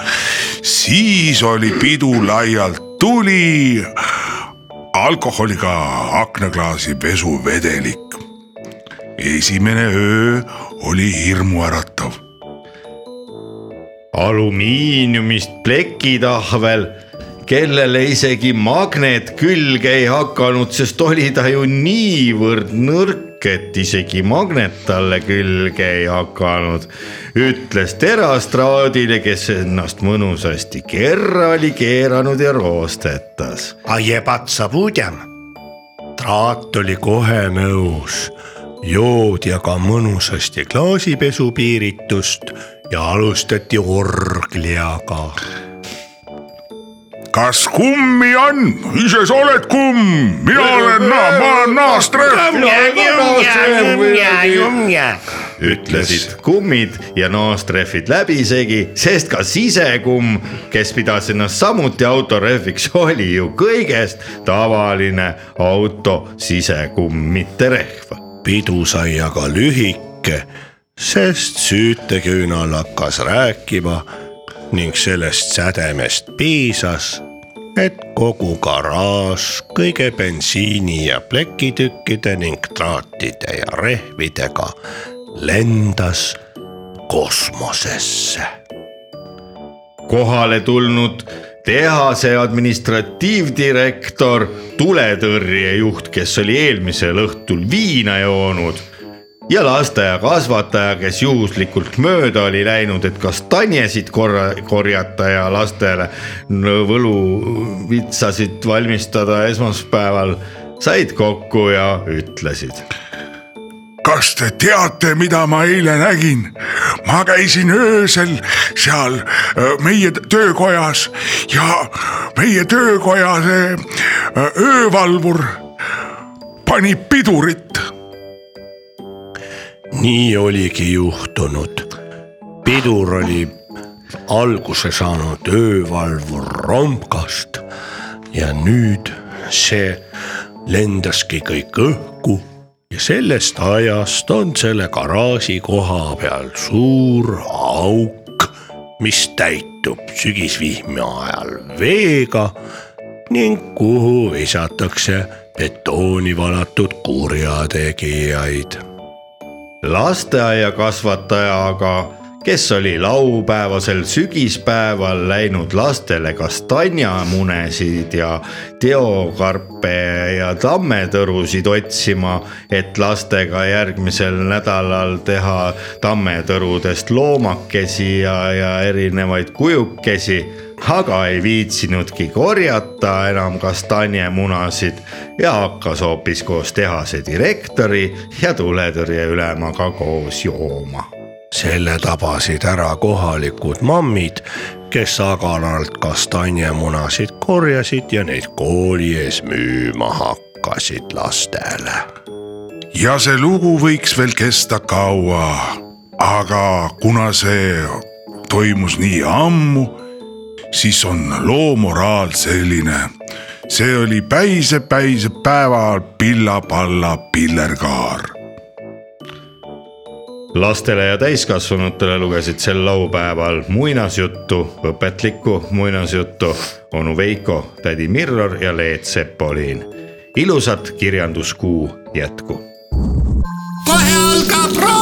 [SPEAKER 11] siis oli pidu laialt tuli alkoholiga aknaklaasi pesuvedelik . esimene öö oli hirmuäratav .
[SPEAKER 4] alumiiniumist plekitahvel , kellele isegi magnet külge ei hakanud , sest oli ta ju niivõrd nõrk , et isegi magnet talle külge ei hakanud . ütles terastraadile , kes ennast mõnusasti kerra oli keeranud ja roostetas .
[SPEAKER 5] a jebat saab uudem . traat oli kohe nõus , joodi aga mõnusasti klaasipesu piiritust ja alustati orgliaga .
[SPEAKER 11] kas kummi on , ise sa oled kumm , mina olen naa , ma olen naast rehv .
[SPEAKER 4] ütlesid kummid ja naastrehvid läbisegi , sest ka sisekumm , kes pidas ennast samuti autorehviks , oli ju kõigest tavaline auto sisekumm , mitte rehv .
[SPEAKER 5] pidu sai aga lühike , sest süüteküünal hakkas rääkima ning sellest sädemest piisas , et kogu garaaž kõige bensiini ja plekitükkide ning traatide ja rehvidega lendas kosmosesse .
[SPEAKER 4] kohale tulnud tehase administratiivdirektor , tuletõrjejuht , kes oli eelmisel õhtul viina joonud ja lasteaiakasvataja , kes juhuslikult mööda oli läinud , et kastanjesid korra , korjata ja lastele n- võluvitsasid valmistada esmaspäeval , said kokku ja ütlesid .
[SPEAKER 6] kas te teate , mida ma eile nägin ? ma käisin öösel seal öö, meie t- töökojas ja meie töökoja see öö, öövalvur pani pidurit .
[SPEAKER 5] nii oligi juhtunud . pidur oli alguse saanud öövalvur rombkast ja nüüd see lendaski kõik õhku ja sellest ajast on selle garaaži koha peal suur auk , mis täitub sügisvihma ajal veega ning kuhu visatakse betooni valatud kurjategijaid
[SPEAKER 4] lasteaiakasvataja aga , kes oli laupäevasel sügispäeval läinud lastele kastanjamunesid ja teokarpe ja tammetõrusid otsima , et lastega järgmisel nädalal teha tammetõrudest loomakesi ja , ja erinevaid kujukesi aga ei viitsinudki korjata enam kastanjemunasid ja hakkas hoopis koos tehase direktori ja tuletõrjeülemaga koos jooma .
[SPEAKER 5] selle tabasid ära kohalikud mammid , kes agaralt kastanjemunasid korjasid ja neid kooli ees müüma hakkasid lastele .
[SPEAKER 6] ja see lugu võiks veel kesta kaua , aga kuna see toimus nii ammu , siis on loo moraal selline . see oli päise , päise päeva pilla-palla pillerkaar .
[SPEAKER 4] lastele ja täiskasvanutele lugesid sel laupäeval muinasjuttu , õpetlikku muinasjuttu onu Veiko , tädi Mirror ja Leet Sepolin . ilusat kirjanduskuu jätku .
[SPEAKER 12] kohe algab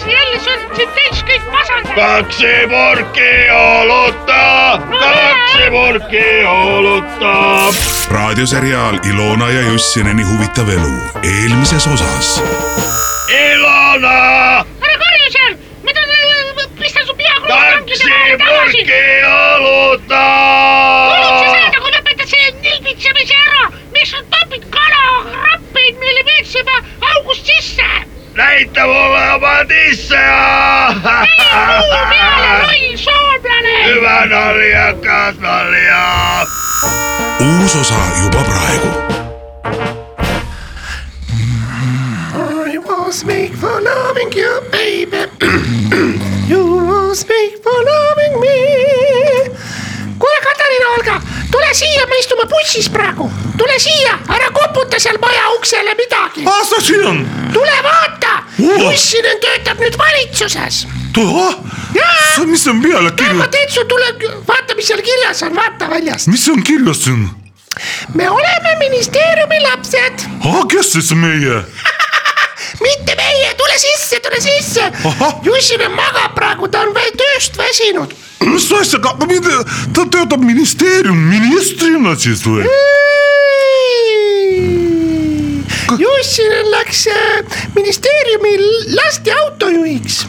[SPEAKER 13] sa jälle , sa oled siin täis kõik masendanud .
[SPEAKER 1] kaksepurki oluta , kaksepurki oluta .
[SPEAKER 6] raadioseriaal Ilona ja Jussineni huvitav elu eelmises osas .
[SPEAKER 1] Ilona ,
[SPEAKER 13] ära karju seal , mida ta , pista su pea .
[SPEAKER 1] kaksepurki oluta .
[SPEAKER 13] oled sa see , nagu lõpetad selle nilbitsemise ära , miks sa topid kalarappeid meile veetsema august sisse ?
[SPEAKER 1] näita mulle oma tisse .
[SPEAKER 13] loll soomlane .
[SPEAKER 1] hüva naljakas nalja .
[SPEAKER 6] uus osa juba praegu .
[SPEAKER 12] I was made for loving you, baby . You was made for loving me .
[SPEAKER 13] kuule , Katariina Olga , tule siia , me istume bussis praegu , tule siia , ära koputa seal maja uksele midagi .
[SPEAKER 9] ah sa siin on .
[SPEAKER 13] tule vaata ,
[SPEAKER 9] Oo.
[SPEAKER 13] Jussinen töötab nüüd valitsuses .
[SPEAKER 9] tohoh , mis Ah, on peale
[SPEAKER 13] ma
[SPEAKER 9] kirja ,
[SPEAKER 13] teen su , tule vaata , mis seal kirjas on , vaata väljast .
[SPEAKER 9] mis on kirjas siin ?
[SPEAKER 13] me oleme ministeeriumi lapsed ,
[SPEAKER 9] ah , kes siis meie ?
[SPEAKER 13] mitte meie , tule sisse , tule sisse . Jussinen magab praegu , ta on veel tööst väsinud .
[SPEAKER 9] mis asja , ta töötab ministeerium , ministrina siis või ?
[SPEAKER 13] Jussinen läks äh, ministeeriumi lasteautojuhiks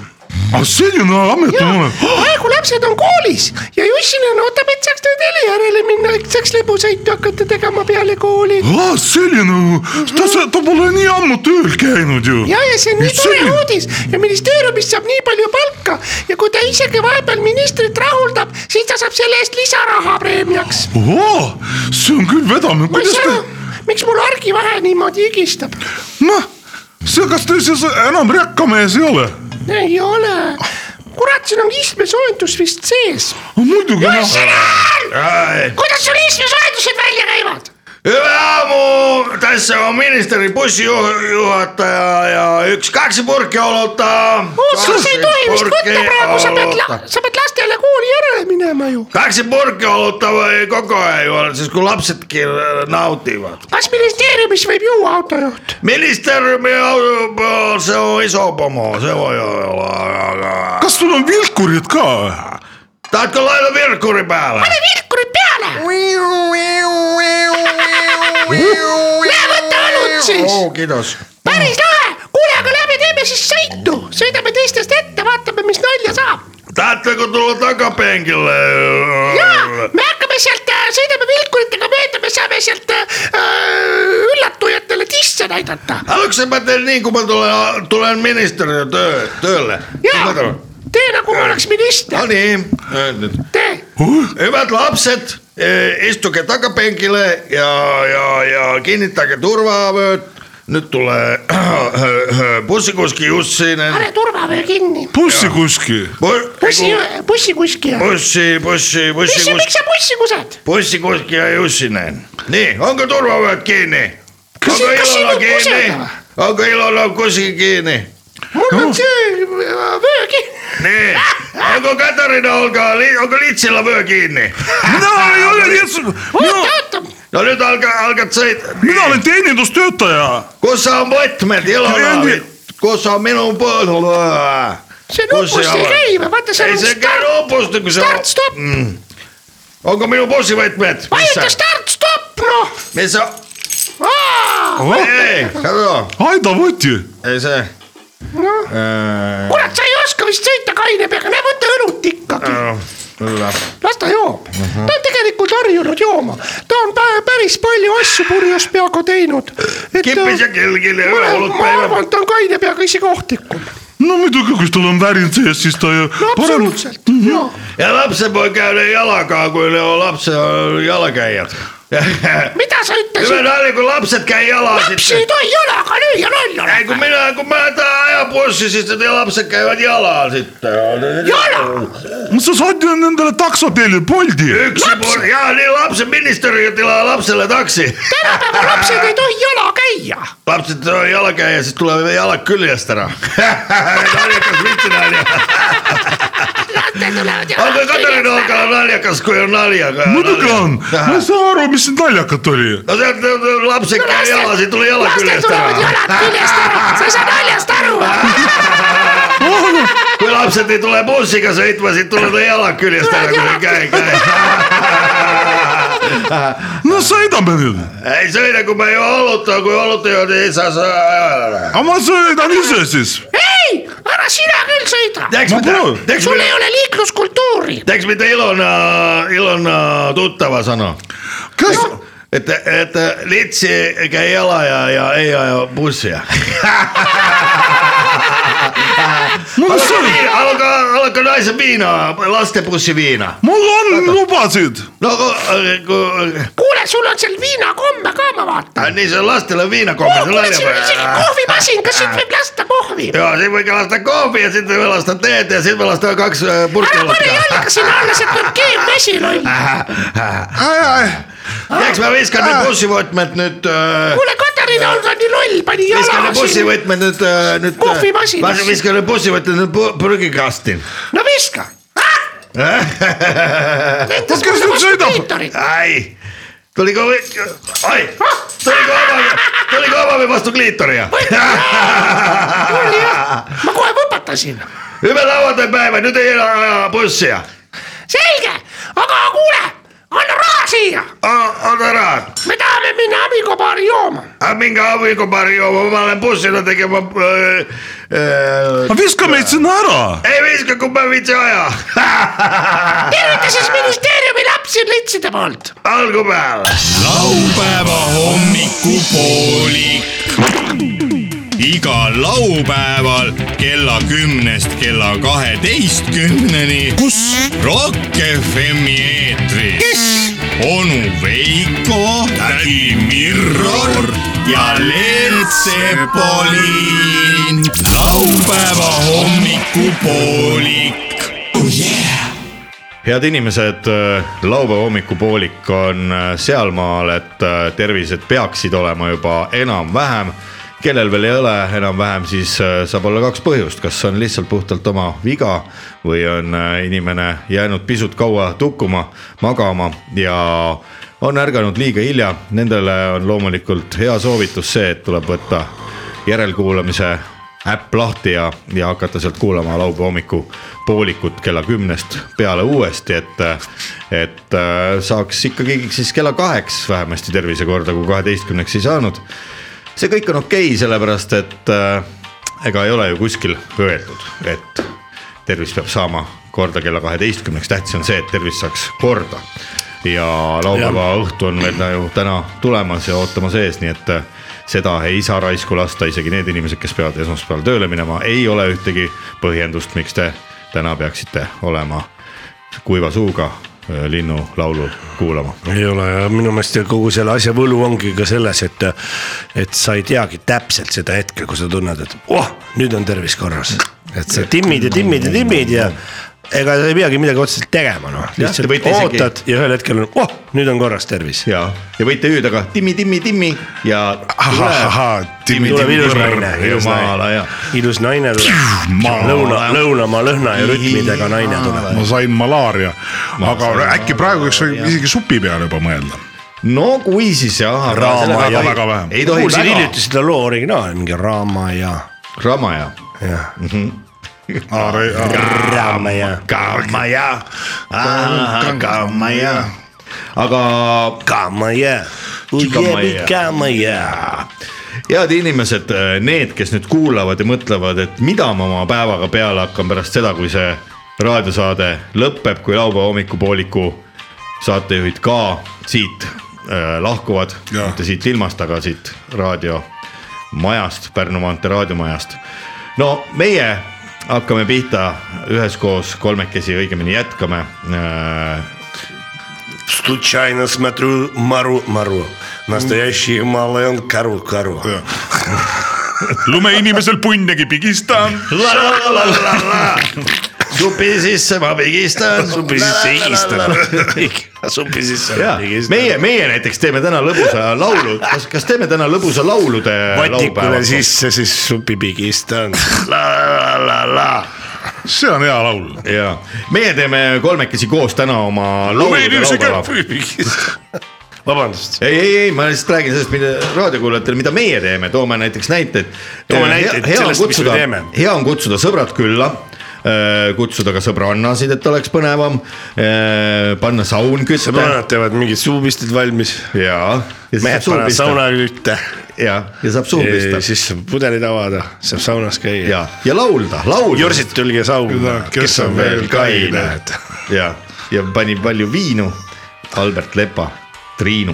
[SPEAKER 9] ah , selline amet on olemas .
[SPEAKER 13] praegu lapsed on koolis ja Jussinen ootab , et saaks nüüd heli järele minna , et saaks lõbusõitu hakata tegema peale kooli .
[SPEAKER 9] ah , selline , ta , ta pole nii ammu tööl käinud ju .
[SPEAKER 13] ja , ja see on nii tore uudis ja ministeeriumist saab nii palju palka ja kui ta isegi vahepeal ministrit rahuldab , siis ta saab selle eest lisaraha preemiaks .
[SPEAKER 9] ohoo , see on küll vedamine ,
[SPEAKER 13] ma ei
[SPEAKER 9] kuidas
[SPEAKER 13] saa
[SPEAKER 9] te
[SPEAKER 13] aru , miks mul argivahe niimoodi higistab ?
[SPEAKER 9] noh , see , kas te siis enam rekkamees ei ole ?
[SPEAKER 13] ei ole , kurat , siin on istmesoojendus vist sees .
[SPEAKER 9] muidugi .
[SPEAKER 13] kuidas sul istmesoojendused välja käivad ?
[SPEAKER 4] hüva mu , tässä on ministeri bussijuhataja ja üks kaksipurki oluta .
[SPEAKER 13] sa ei tohi vist võtta praegu , sa pead , sa pead lastele kooli järele minema ju .
[SPEAKER 4] kaksipurki oluta või kogu aeg juua , siis äh, kui lapsedki naudivad .
[SPEAKER 13] kas ministeeriumis võib juua autojuht ?
[SPEAKER 4] ministeeriumi autopeol see on iso pomo , se voi olla äh, aga .
[SPEAKER 9] kas sul on vilkurid ka ?
[SPEAKER 4] tahtko laita vilkuri päälle ?
[SPEAKER 13] pane vilkurid peale .
[SPEAKER 12] Lähe
[SPEAKER 13] võta õlut siis .
[SPEAKER 5] kidos .
[SPEAKER 13] päris lahe , kuule , aga lähme teeme siis sõitu , sõidame teistest ette , vaatame , mis nalja saab .
[SPEAKER 14] Tahaatteko tulla takapenkille?
[SPEAKER 13] jaa , me hakkame sealt , sõidame vilkuritega mööda , me saame sealt äh, üllatujatele tisse näidata .
[SPEAKER 4] algselt ma teen nii , kui ma tulen , tulen ministrina töö , tööle .
[SPEAKER 13] jaa , tee nagu ma oleks minister .
[SPEAKER 4] no nii , nüüd . hüved lapsed , istuge tagapingile ja , ja , ja kinnitage turvavööd . nüüd tule äh, bussikuski Jussi .
[SPEAKER 13] pane turvavöö kinni .
[SPEAKER 4] bussikuski .
[SPEAKER 13] bussi , bussikuskija .
[SPEAKER 4] bussi , bussi ,
[SPEAKER 13] mis ,
[SPEAKER 4] bussikuski
[SPEAKER 13] miks . sa bussi kused ?
[SPEAKER 4] bussikuski ja Jussinen . nii , onko turvavööt kiinni ?
[SPEAKER 13] Kas
[SPEAKER 4] onko
[SPEAKER 13] si- kas
[SPEAKER 4] Ilona
[SPEAKER 13] sinut
[SPEAKER 4] kiinni
[SPEAKER 13] kusella? ?
[SPEAKER 4] onko Ilona kuski kiinni ?
[SPEAKER 13] mul on see vöö kinni .
[SPEAKER 4] nii , Niin. onko Katariina , olga , onko Litsilla vöö kiinni ?
[SPEAKER 14] Mina ei ole Litsil-
[SPEAKER 13] oota , oota .
[SPEAKER 4] no nüüd alga , algad sõita .
[SPEAKER 14] Minä olen teenindustööttäjä.
[SPEAKER 4] kus on võtmed , Ilona
[SPEAKER 14] Kliendi- ?
[SPEAKER 4] kus on minu põõsul ?
[SPEAKER 13] see nupust ei käi või vaata seal
[SPEAKER 4] ei ,
[SPEAKER 13] on
[SPEAKER 4] see Mm. ei käi
[SPEAKER 13] start ,
[SPEAKER 4] nupust , kui sa
[SPEAKER 13] start , stopp ,
[SPEAKER 4] onko minu bussivõtmed ?
[SPEAKER 13] vajuta start , stopp noh .
[SPEAKER 4] mis sa ? ei , kato .
[SPEAKER 14] Aita võti .
[SPEAKER 4] ei see . Äh.
[SPEAKER 13] kurat , sa ei oska vist sõita kaine peaga , näe võta õlut ikkagi ,
[SPEAKER 4] Äh,
[SPEAKER 13] las ta joob .
[SPEAKER 4] Mhm.
[SPEAKER 13] ta on tegelikult harjunud jooma , ta on pä- päris palju asju purjus peaga teinud .
[SPEAKER 4] Kippis ja kelgil ja üleolud
[SPEAKER 13] ma
[SPEAKER 4] päeva-
[SPEAKER 13] arvan , et ta on kaine peaga isegi ohtlikum .
[SPEAKER 14] No muidugi, kun tuolla on värin sees, siis toi...
[SPEAKER 13] no absoluutselt ,
[SPEAKER 14] Mhm.
[SPEAKER 13] jaa .
[SPEAKER 4] ja lapsepoeg käib jalaga , kui no lapse on jalakäijad .
[SPEAKER 13] mida sa
[SPEAKER 4] hüve
[SPEAKER 13] ütlesid ?
[SPEAKER 4] nali , kui lapsed käi jala .
[SPEAKER 13] lapsi ei tohi jalaga lüüa nalja .
[SPEAKER 4] ei , kui mina , kui ma tahan aja bussi , siis need lapsed käivad jala siit .
[SPEAKER 13] Jala?
[SPEAKER 14] Mutta sä sait nendelle taksoteille poldi.
[SPEAKER 4] yksi pur- , jaa , nii lapse ministeriö tilaa lapsele taksi .
[SPEAKER 13] tänapäeva lapsed ei tohi jala käia .
[SPEAKER 4] lapsed tulevad jalakäija , siis tulevad jalad küljest ära . naljakas mitte naljakas . aga Katariina on ka naljakas , kui on naljaga .
[SPEAKER 14] Muidugi on . Ma ei saa aru, mis siin naljakat oli.
[SPEAKER 4] no sealt lapsed
[SPEAKER 13] No
[SPEAKER 4] käivad
[SPEAKER 13] lastel-
[SPEAKER 4] jalas , ei tule jala
[SPEAKER 13] lastel
[SPEAKER 4] küljest
[SPEAKER 13] tulevad jalad
[SPEAKER 4] ära .
[SPEAKER 13] küljest ära , sa ei saa naljast aru .
[SPEAKER 4] kui lapsed ei tule bussiga sõitma , siis tulevad jalad küljest ära , kui ei käi , käi .
[SPEAKER 14] No sõidame nüüd .
[SPEAKER 4] ei sõida , kui ma ei valuta , kui valuta ei ole , ei saa sõida .
[SPEAKER 14] Aga ma sõidan ise siis .
[SPEAKER 13] ei , ära sina küll sõida .
[SPEAKER 4] teeks mida ,
[SPEAKER 13] sul ei ole liikluskultuuri .
[SPEAKER 4] teeks mida Ilona , Ilona äh, tuttava sõna .
[SPEAKER 14] kas
[SPEAKER 4] no. , et , et litsi ei käi jala ja , ja ei aja bussi .
[SPEAKER 14] Mul on sõnum.
[SPEAKER 4] alga , alga naise viina , lastebussi viina .
[SPEAKER 14] Mul on lubasid.
[SPEAKER 4] no kui , kui ,
[SPEAKER 13] kuule , sul on seal viinakomme ka , ma vaatan .
[SPEAKER 4] nii see on lastele viinakohv , see on
[SPEAKER 13] kuule , siin on isegi
[SPEAKER 4] laiapõhja .
[SPEAKER 13] kohvimasin , kas siit võib lasta kohvi ?
[SPEAKER 4] ja siis võid ka lasta kohvi ja siis võid lasta teed ja siis võid lasta kaks äh, purki .
[SPEAKER 13] ära pane jalga sinna alla , sealt tuleb keemvesi loll .
[SPEAKER 4] Äh. eks ma viskan need bussivõtmed nüüd äh,
[SPEAKER 13] kuule , Katariina on ka nii loll , pani
[SPEAKER 4] viskan
[SPEAKER 13] jala
[SPEAKER 4] need . bussivõtmed nüüd , nüüd .
[SPEAKER 13] Kohvimasinasse.
[SPEAKER 4] viskan need bussivõtmed nüüd pu- prügikasti .
[SPEAKER 13] no viska .
[SPEAKER 4] kas
[SPEAKER 13] kas nüüd sõidab ?
[SPEAKER 4] ai , tuli ka , ai , tuli ka homobi , tuli ka homobi vastu kliitori ja .
[SPEAKER 13] oli jah , ma kohe võpatasin .
[SPEAKER 4] hüve lauapäeva , nüüd ei ela aja bussi ja .
[SPEAKER 13] selge , aga kuule , anna raha siia ,
[SPEAKER 4] anna raha ,
[SPEAKER 13] me tahame minna abikabaari jooma .
[SPEAKER 4] minge abikabaari jooma , ma lähen bussile tegema äh, .
[SPEAKER 14] Aga viska meid sinna ära.
[SPEAKER 4] ei viska , kui ma viitsi aja .
[SPEAKER 13] tervita siis ministeeriumi lapsi litside poolt .
[SPEAKER 4] algu peale .
[SPEAKER 1] laupäeva hommikupoolik . igal laupäeval kella kümnest kella kaheteistkümneni . kus ? Rock FM-i eetris . onu Veiko , tädi Mirror ja Leelt Sepolin . laupäeva hommikupoolik . Oh yeah!
[SPEAKER 4] head inimesed , laupäeva hommikupoolik on äh, sealmaal , et äh, tervised peaksid olema juba enam-vähem . kellel veel ei ole enam-vähem , siis äh, saab olla kaks põhjust , kas on lihtsalt puhtalt oma viga või on äh, inimene jäänud pisut kaua tukkuma , magama ja on ärganud liiga hilja . Nendele on loomulikult hea soovitus see , et tuleb võtta järelkuulamise äpp lahti ja , ja hakata sealt kuulama laupäeva hommiku poolikut kella kümnest peale uuesti , et . et äh, saaks ikkagi siis kella kaheks vähemasti tervise korda , kui kaheteistkümneks ei saanud . see kõik on okei okay, , sellepärast et äh, ega ei ole ju kuskil öeldud , et tervis peab saama korda kella kaheteistkümneks , tähtis on see , et tervis saaks korda . ja laupäeva ja. õhtu on meil ta ju täna tulemas ja ootamas ees , nii et äh, seda ei saa raisku lasta , isegi need inimesed , kes peavad esmaspäeval tööle minema , ei ole ühtegi põhjendust , miks te täna peaksite olema kuiva suuga äh, linnulaulu kuulama .
[SPEAKER 5] ei ole ja minu meelest ja kogu selle asja võlu ongi ka selles , et , et sa ei teagi täpselt seda hetke , kui sa tunned , et oh , nüüd on tervis korras . et sa timmid ja timmid ja timmid ja ega sa ei peagi midagi otseselt tegema , noh .
[SPEAKER 4] Jah, te
[SPEAKER 5] lihtsalt
[SPEAKER 4] võite isegi-
[SPEAKER 5] ootad ja ühel hetkel on , oh , nüüd on korras tervis .
[SPEAKER 4] ja , ja võite hüüda ka timmi , timmi , timmi ja .
[SPEAKER 5] tuleb ilus naine , ilus
[SPEAKER 4] jumala
[SPEAKER 5] naine
[SPEAKER 4] hea .,
[SPEAKER 5] ilus naine tuleb . lõuna , lõunamaa lõhna ja rütmidega naine tuleb .
[SPEAKER 11] ma sain malaaria , aga äkki praegu võiks isegi supi peale juba mõelda .
[SPEAKER 4] no kui siis jah .
[SPEAKER 5] Raama ja .
[SPEAKER 11] väga vähe .
[SPEAKER 5] kuulsin hiljuti seda loo originaali , mingi Raama ja .
[SPEAKER 4] Raama ja .
[SPEAKER 5] jah .
[SPEAKER 4] Raama ja . Kaama ja . Kaama ja . aga .
[SPEAKER 5] Kaama ja . Kaama ja .
[SPEAKER 4] head inimesed , need , kes nüüd kuulavad ja mõtlevad , et mida ma oma päevaga peale hakkan pärast seda , kui see raadiosaade lõpeb , kui laupäeva hommikupooliku saatejuhid ka siit äh, lahkuvad , mitte siit ilmast , aga siit raadiomajast , Pärnu maantee raadiomajast . no meie hakkame pihta üheskoos kolmekesi , õigemini jätkame äh,
[SPEAKER 5] Случайно смотрю Мару-Мару. Настоящий Мален Кару-Кару.
[SPEAKER 14] lumeinimesel punnegi pigistan .
[SPEAKER 4] supi sisse ma pigistan .
[SPEAKER 5] supi sisse higistan . supi sisse
[SPEAKER 4] ja meie , meie näiteks teeme täna lõbusa laulu , kas , kas teeme täna lõbusa laulude laupäeva
[SPEAKER 5] vatikule ? sisse , siis supi pigistan .
[SPEAKER 4] see on hea laul . ja meie teeme kolmekesi koos täna oma laulude laupäeva .
[SPEAKER 5] vabandust .
[SPEAKER 4] ei , ei , ei , ma lihtsalt räägin sellest , mida raadiokuulajatele , mida meie teeme , toome näiteks näiteid .
[SPEAKER 5] Toome näiteid
[SPEAKER 4] hea on
[SPEAKER 5] sellest, mis me
[SPEAKER 4] kutsuda
[SPEAKER 5] teeme. ,
[SPEAKER 4] hea on kutsuda sõbrad külla , kutsuda ka sõbrannasid , et oleks põnevam , panna saun kütta .
[SPEAKER 5] sõbrannad teevad mingid suupistid valmis .
[SPEAKER 4] ja .
[SPEAKER 5] mehed panevad sauna kütte .
[SPEAKER 4] ja , ja saab suhu pista .
[SPEAKER 5] siis saab pudelid avada , saab saunas käia .
[SPEAKER 4] ja , ja laulda , laulda .
[SPEAKER 5] Jursid , tulge sauna .
[SPEAKER 4] kes on veel kained . ja , ja pani palju viinu Albert Lepa , Triinu .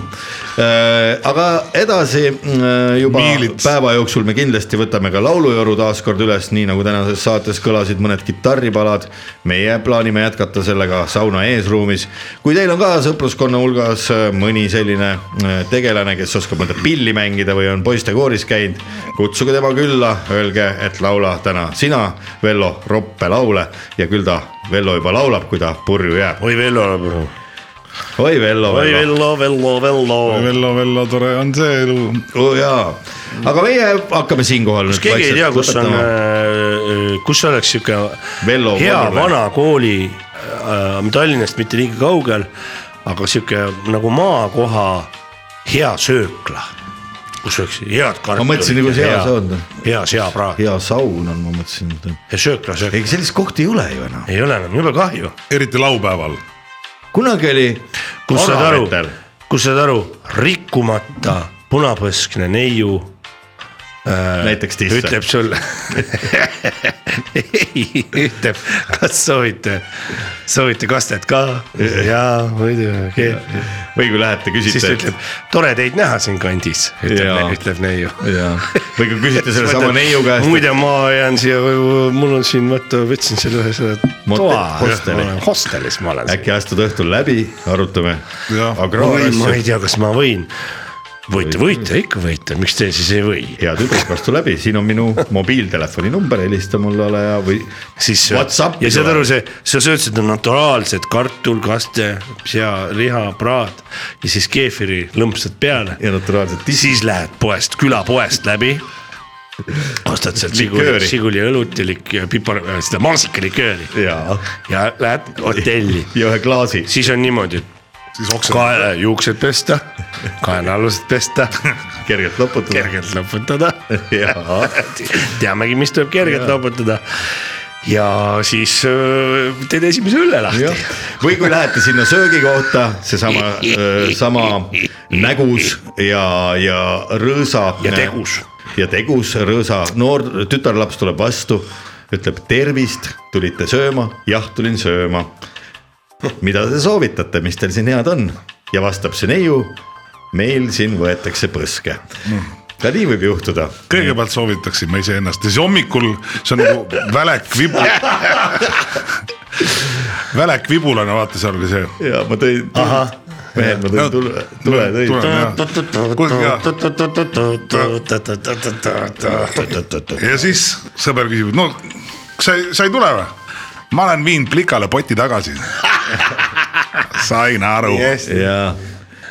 [SPEAKER 4] aga edasi äh, juba Miilits. päeva jooksul me kindlasti võtame ka laulujoru taas kord üles , nii nagu tänases saates kõlasid mõned kitarripalad . meie plaanime jätkata sellega sauna eesruumis . kui teil on ka sõpruskonna hulgas äh, mõni selline äh, tegelane , kes oskab mõnda pilli mängida või on poistekooris käinud , kutsuge tema külla , öelge , et laula täna sina , Vello , roppe laule ja küll ta , Vello juba laulab , kui ta purju jääb .
[SPEAKER 5] oi Vello ,
[SPEAKER 4] oi Vello ,
[SPEAKER 5] oi Vello , Vello , Vello .
[SPEAKER 11] Vello , Vello , tore on see elu .
[SPEAKER 4] oo Oh, jaa , aga meie hakkame siinkohal
[SPEAKER 5] kas keegi ei tea , kus on , kus oleks sihuke
[SPEAKER 4] Vello
[SPEAKER 5] hea
[SPEAKER 4] Volvo.
[SPEAKER 5] vana kooli äh, Tallinnast mitte liiga kaugel , aga sihuke nagu maakoha hea söökla , kus oleks head
[SPEAKER 4] ma
[SPEAKER 5] kartulit .
[SPEAKER 4] mõtlesin nagu see hea saun .
[SPEAKER 5] hea seapraad .
[SPEAKER 4] hea saun on , ma mõtlesin .
[SPEAKER 5] ja söökla , söökla .
[SPEAKER 4] ega sellist kohta ei ole ju enam .
[SPEAKER 5] ei ole enam , jube kahju .
[SPEAKER 11] eriti laupäeval .
[SPEAKER 4] kunagi oli .
[SPEAKER 5] kus saad aru
[SPEAKER 4] Oravetel. ,
[SPEAKER 5] kus saad aru , rikkumata punapõskne neiu äh, .
[SPEAKER 4] Näiteks tisse.
[SPEAKER 5] ütleb sulle , ei , ütleb , kas soovite , soovite kastet ka ja muidugi .
[SPEAKER 4] või kui lähete ,
[SPEAKER 5] siis ta
[SPEAKER 4] küsite .
[SPEAKER 5] ütleb , tore teid näha siin kandis ,
[SPEAKER 4] Jaa.
[SPEAKER 5] ütleb , ütleb neiu .
[SPEAKER 4] või kui küsite sellesama neiu käest .
[SPEAKER 5] muide , ma jään siia , mul on siin , vaata , võtsin selle ühe selle
[SPEAKER 4] Motel-
[SPEAKER 5] toa .
[SPEAKER 4] hosteli.
[SPEAKER 5] hostelis ma olen .
[SPEAKER 4] äkki astud õhtul läbi , arutame .
[SPEAKER 5] oi , ma ei tea , kas ma võin . võite , võite , ikka võite , miks te siis ei või ?
[SPEAKER 4] hea tüdruk , astu läbi , siin on minu mobiiltelefoni number , helista mulle ole hea või .
[SPEAKER 5] siis
[SPEAKER 4] Whatsappi
[SPEAKER 5] ja saad
[SPEAKER 4] tuleb.
[SPEAKER 5] aru , see , sa sööd seda naturaalset kartul , kaste , sea , liha , praad ja siis keefiri lõmpsad peale .
[SPEAKER 4] ja naturaalset .
[SPEAKER 5] siis lähed poest , külapoest läbi . ostad sealt siguli ,
[SPEAKER 4] Likööri.
[SPEAKER 5] siguli õlut ja lik- , pipar , seda maasikalikööri .
[SPEAKER 4] ja ,
[SPEAKER 5] ja lähed hotelli .
[SPEAKER 4] ja ühe klaasi .
[SPEAKER 5] siis on niimoodi ,
[SPEAKER 11] siis oksad .
[SPEAKER 5] kaela , juuksed pesta , kaenaalused pesta
[SPEAKER 4] kergelt loputada .
[SPEAKER 5] kergelt loputada .
[SPEAKER 4] jaa ,
[SPEAKER 5] teamegi , mis tuleb kergelt
[SPEAKER 4] Jaa.
[SPEAKER 5] loputada . ja siis öö, teed esimese õlle lahti .
[SPEAKER 4] või kui lähete sinna söögikohta , seesama , sama nägus ja , ja rõõsa . ja tegus . ja tegus rõõsa noor tütarlaps tuleb vastu , ütleb tervist , tulite sööma , jah , tulin sööma . mida te soovitate , mis teil siin head on ja vastab see neiu . meil siin võetakse põske . ka nii võib juhtuda .
[SPEAKER 11] kõigepealt soovitaksin ma iseennast ja siis hommikul see on nagu välek vibu , välek vibulane , vaata , seal oli see .
[SPEAKER 4] ja ma tõin .
[SPEAKER 5] ahah ,
[SPEAKER 4] mehed , ma tõin tule , tule
[SPEAKER 11] tõin . ja siis sõber küsib , no sa , sa ei tule või ? ma olen viinud plikale poti tagasi . sain aru .
[SPEAKER 4] ja ,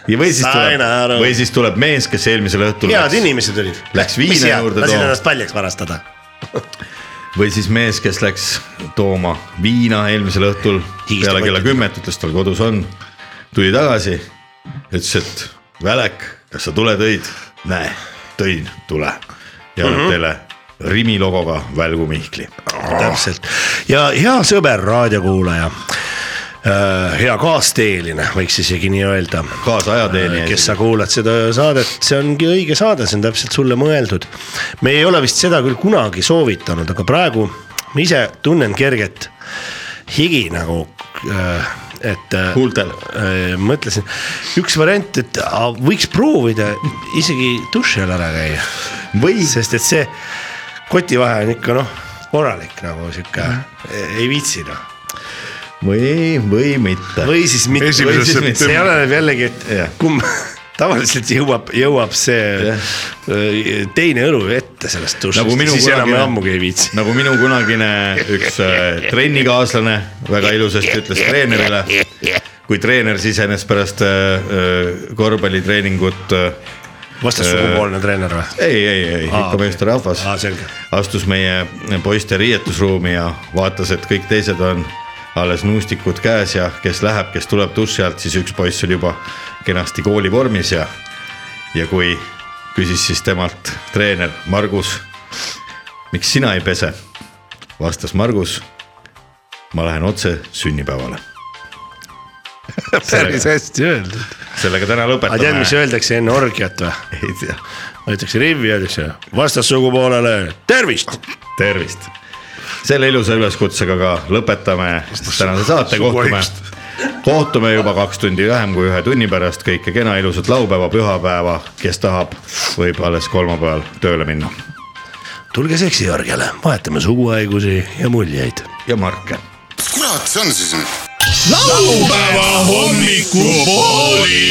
[SPEAKER 4] ja või siis tuleb
[SPEAKER 5] Sain aru. ,
[SPEAKER 4] või siis tuleb mees , kes eelmisel õhtul .
[SPEAKER 5] head inimesed olid .
[SPEAKER 4] Läks viina juurde
[SPEAKER 5] lasin
[SPEAKER 4] tooma
[SPEAKER 5] ennast paljaks varastada .
[SPEAKER 4] või siis mees , kes läks tooma viina eelmisel õhtul peale kella kümmet , ütles tal kodus on . tuli tagasi , ütles , et Välek , kas sa tule tõid ? näe , tõin , tule . ja annab
[SPEAKER 5] Mhm.
[SPEAKER 4] teile Rimi logoga Välgu Mihkli .
[SPEAKER 5] täpselt ja hea sõber , raadiokuulaja . hea kaasteeline , võiks isegi nii öelda .
[SPEAKER 4] kaasajateelija .
[SPEAKER 5] kes sa kuulad seda saadet , see ongi õige saade , see on täpselt sulle mõeldud . me ei ole vist seda küll kunagi soovitanud , aga praegu ma ise tunnen kerget higi nagu , et .
[SPEAKER 4] huultel .
[SPEAKER 5] mõtlesin , üks variant , et a, võiks proovida isegi duši all ära käia .
[SPEAKER 4] või .
[SPEAKER 5] sest et see koti vahe on ikka noh , korralik nagu sihuke , ei viitsi noh .
[SPEAKER 4] või , või mitte .
[SPEAKER 5] või siis mitte , või siis mitte , see oleneb jällegi , et kumb tavaliselt jõuab , jõuab see öö, teine õlu ette sellest
[SPEAKER 4] nagu
[SPEAKER 5] dušist ,
[SPEAKER 4] minu
[SPEAKER 5] siis enam ei ammugi .
[SPEAKER 4] kunagine , nagu minu kunagine üks äh, trennikaaslane väga ilusasti ütles treenerile , kui treener sisenes pärast äh, äh, korvpallitreeningut . äh,
[SPEAKER 5] vastassugupoolne treener või ?
[SPEAKER 4] ei , ei , ei ,
[SPEAKER 5] Aa,
[SPEAKER 4] ikka
[SPEAKER 5] Ah, okei.
[SPEAKER 4] meesterahvas
[SPEAKER 5] Aa, selge.
[SPEAKER 4] astus meie poiste riietusruumi ja vaatas , et kõik teised on alles nuustikud käes ja kes läheb , kes tuleb duši alt , siis üks poiss oli juba kenasti koolivormis ja , ja kui küsis siis temalt treener Margus , miks sina ei pese , vastas Margus , ma lähen otse sünnipäevale .
[SPEAKER 5] päris hästi öeldud .
[SPEAKER 4] sellega täna
[SPEAKER 5] aga
[SPEAKER 4] lõpetame .
[SPEAKER 5] tead , mis öeldakse enne orgiat või ?
[SPEAKER 4] ei tea .
[SPEAKER 5] võetakse rivvi , öeldakse vastassugupoolele tervist .
[SPEAKER 4] tervist . selle ilusa üleskutsega ka lõpetame tänase saate , kohtume , kohtume juba kaks tundi vähem kui ühe tunni pärast , kõike kena , ilusat laupäeva , pühapäeva , kes tahab , võib alles kolmapäeval tööle minna .
[SPEAKER 5] tulge seksiorgiale , vahetame suguhaigusi ja muljeid .
[SPEAKER 4] ja marke .
[SPEAKER 7] kurat , see on siis nüüd ?
[SPEAKER 8] laupäeva hommikupooli .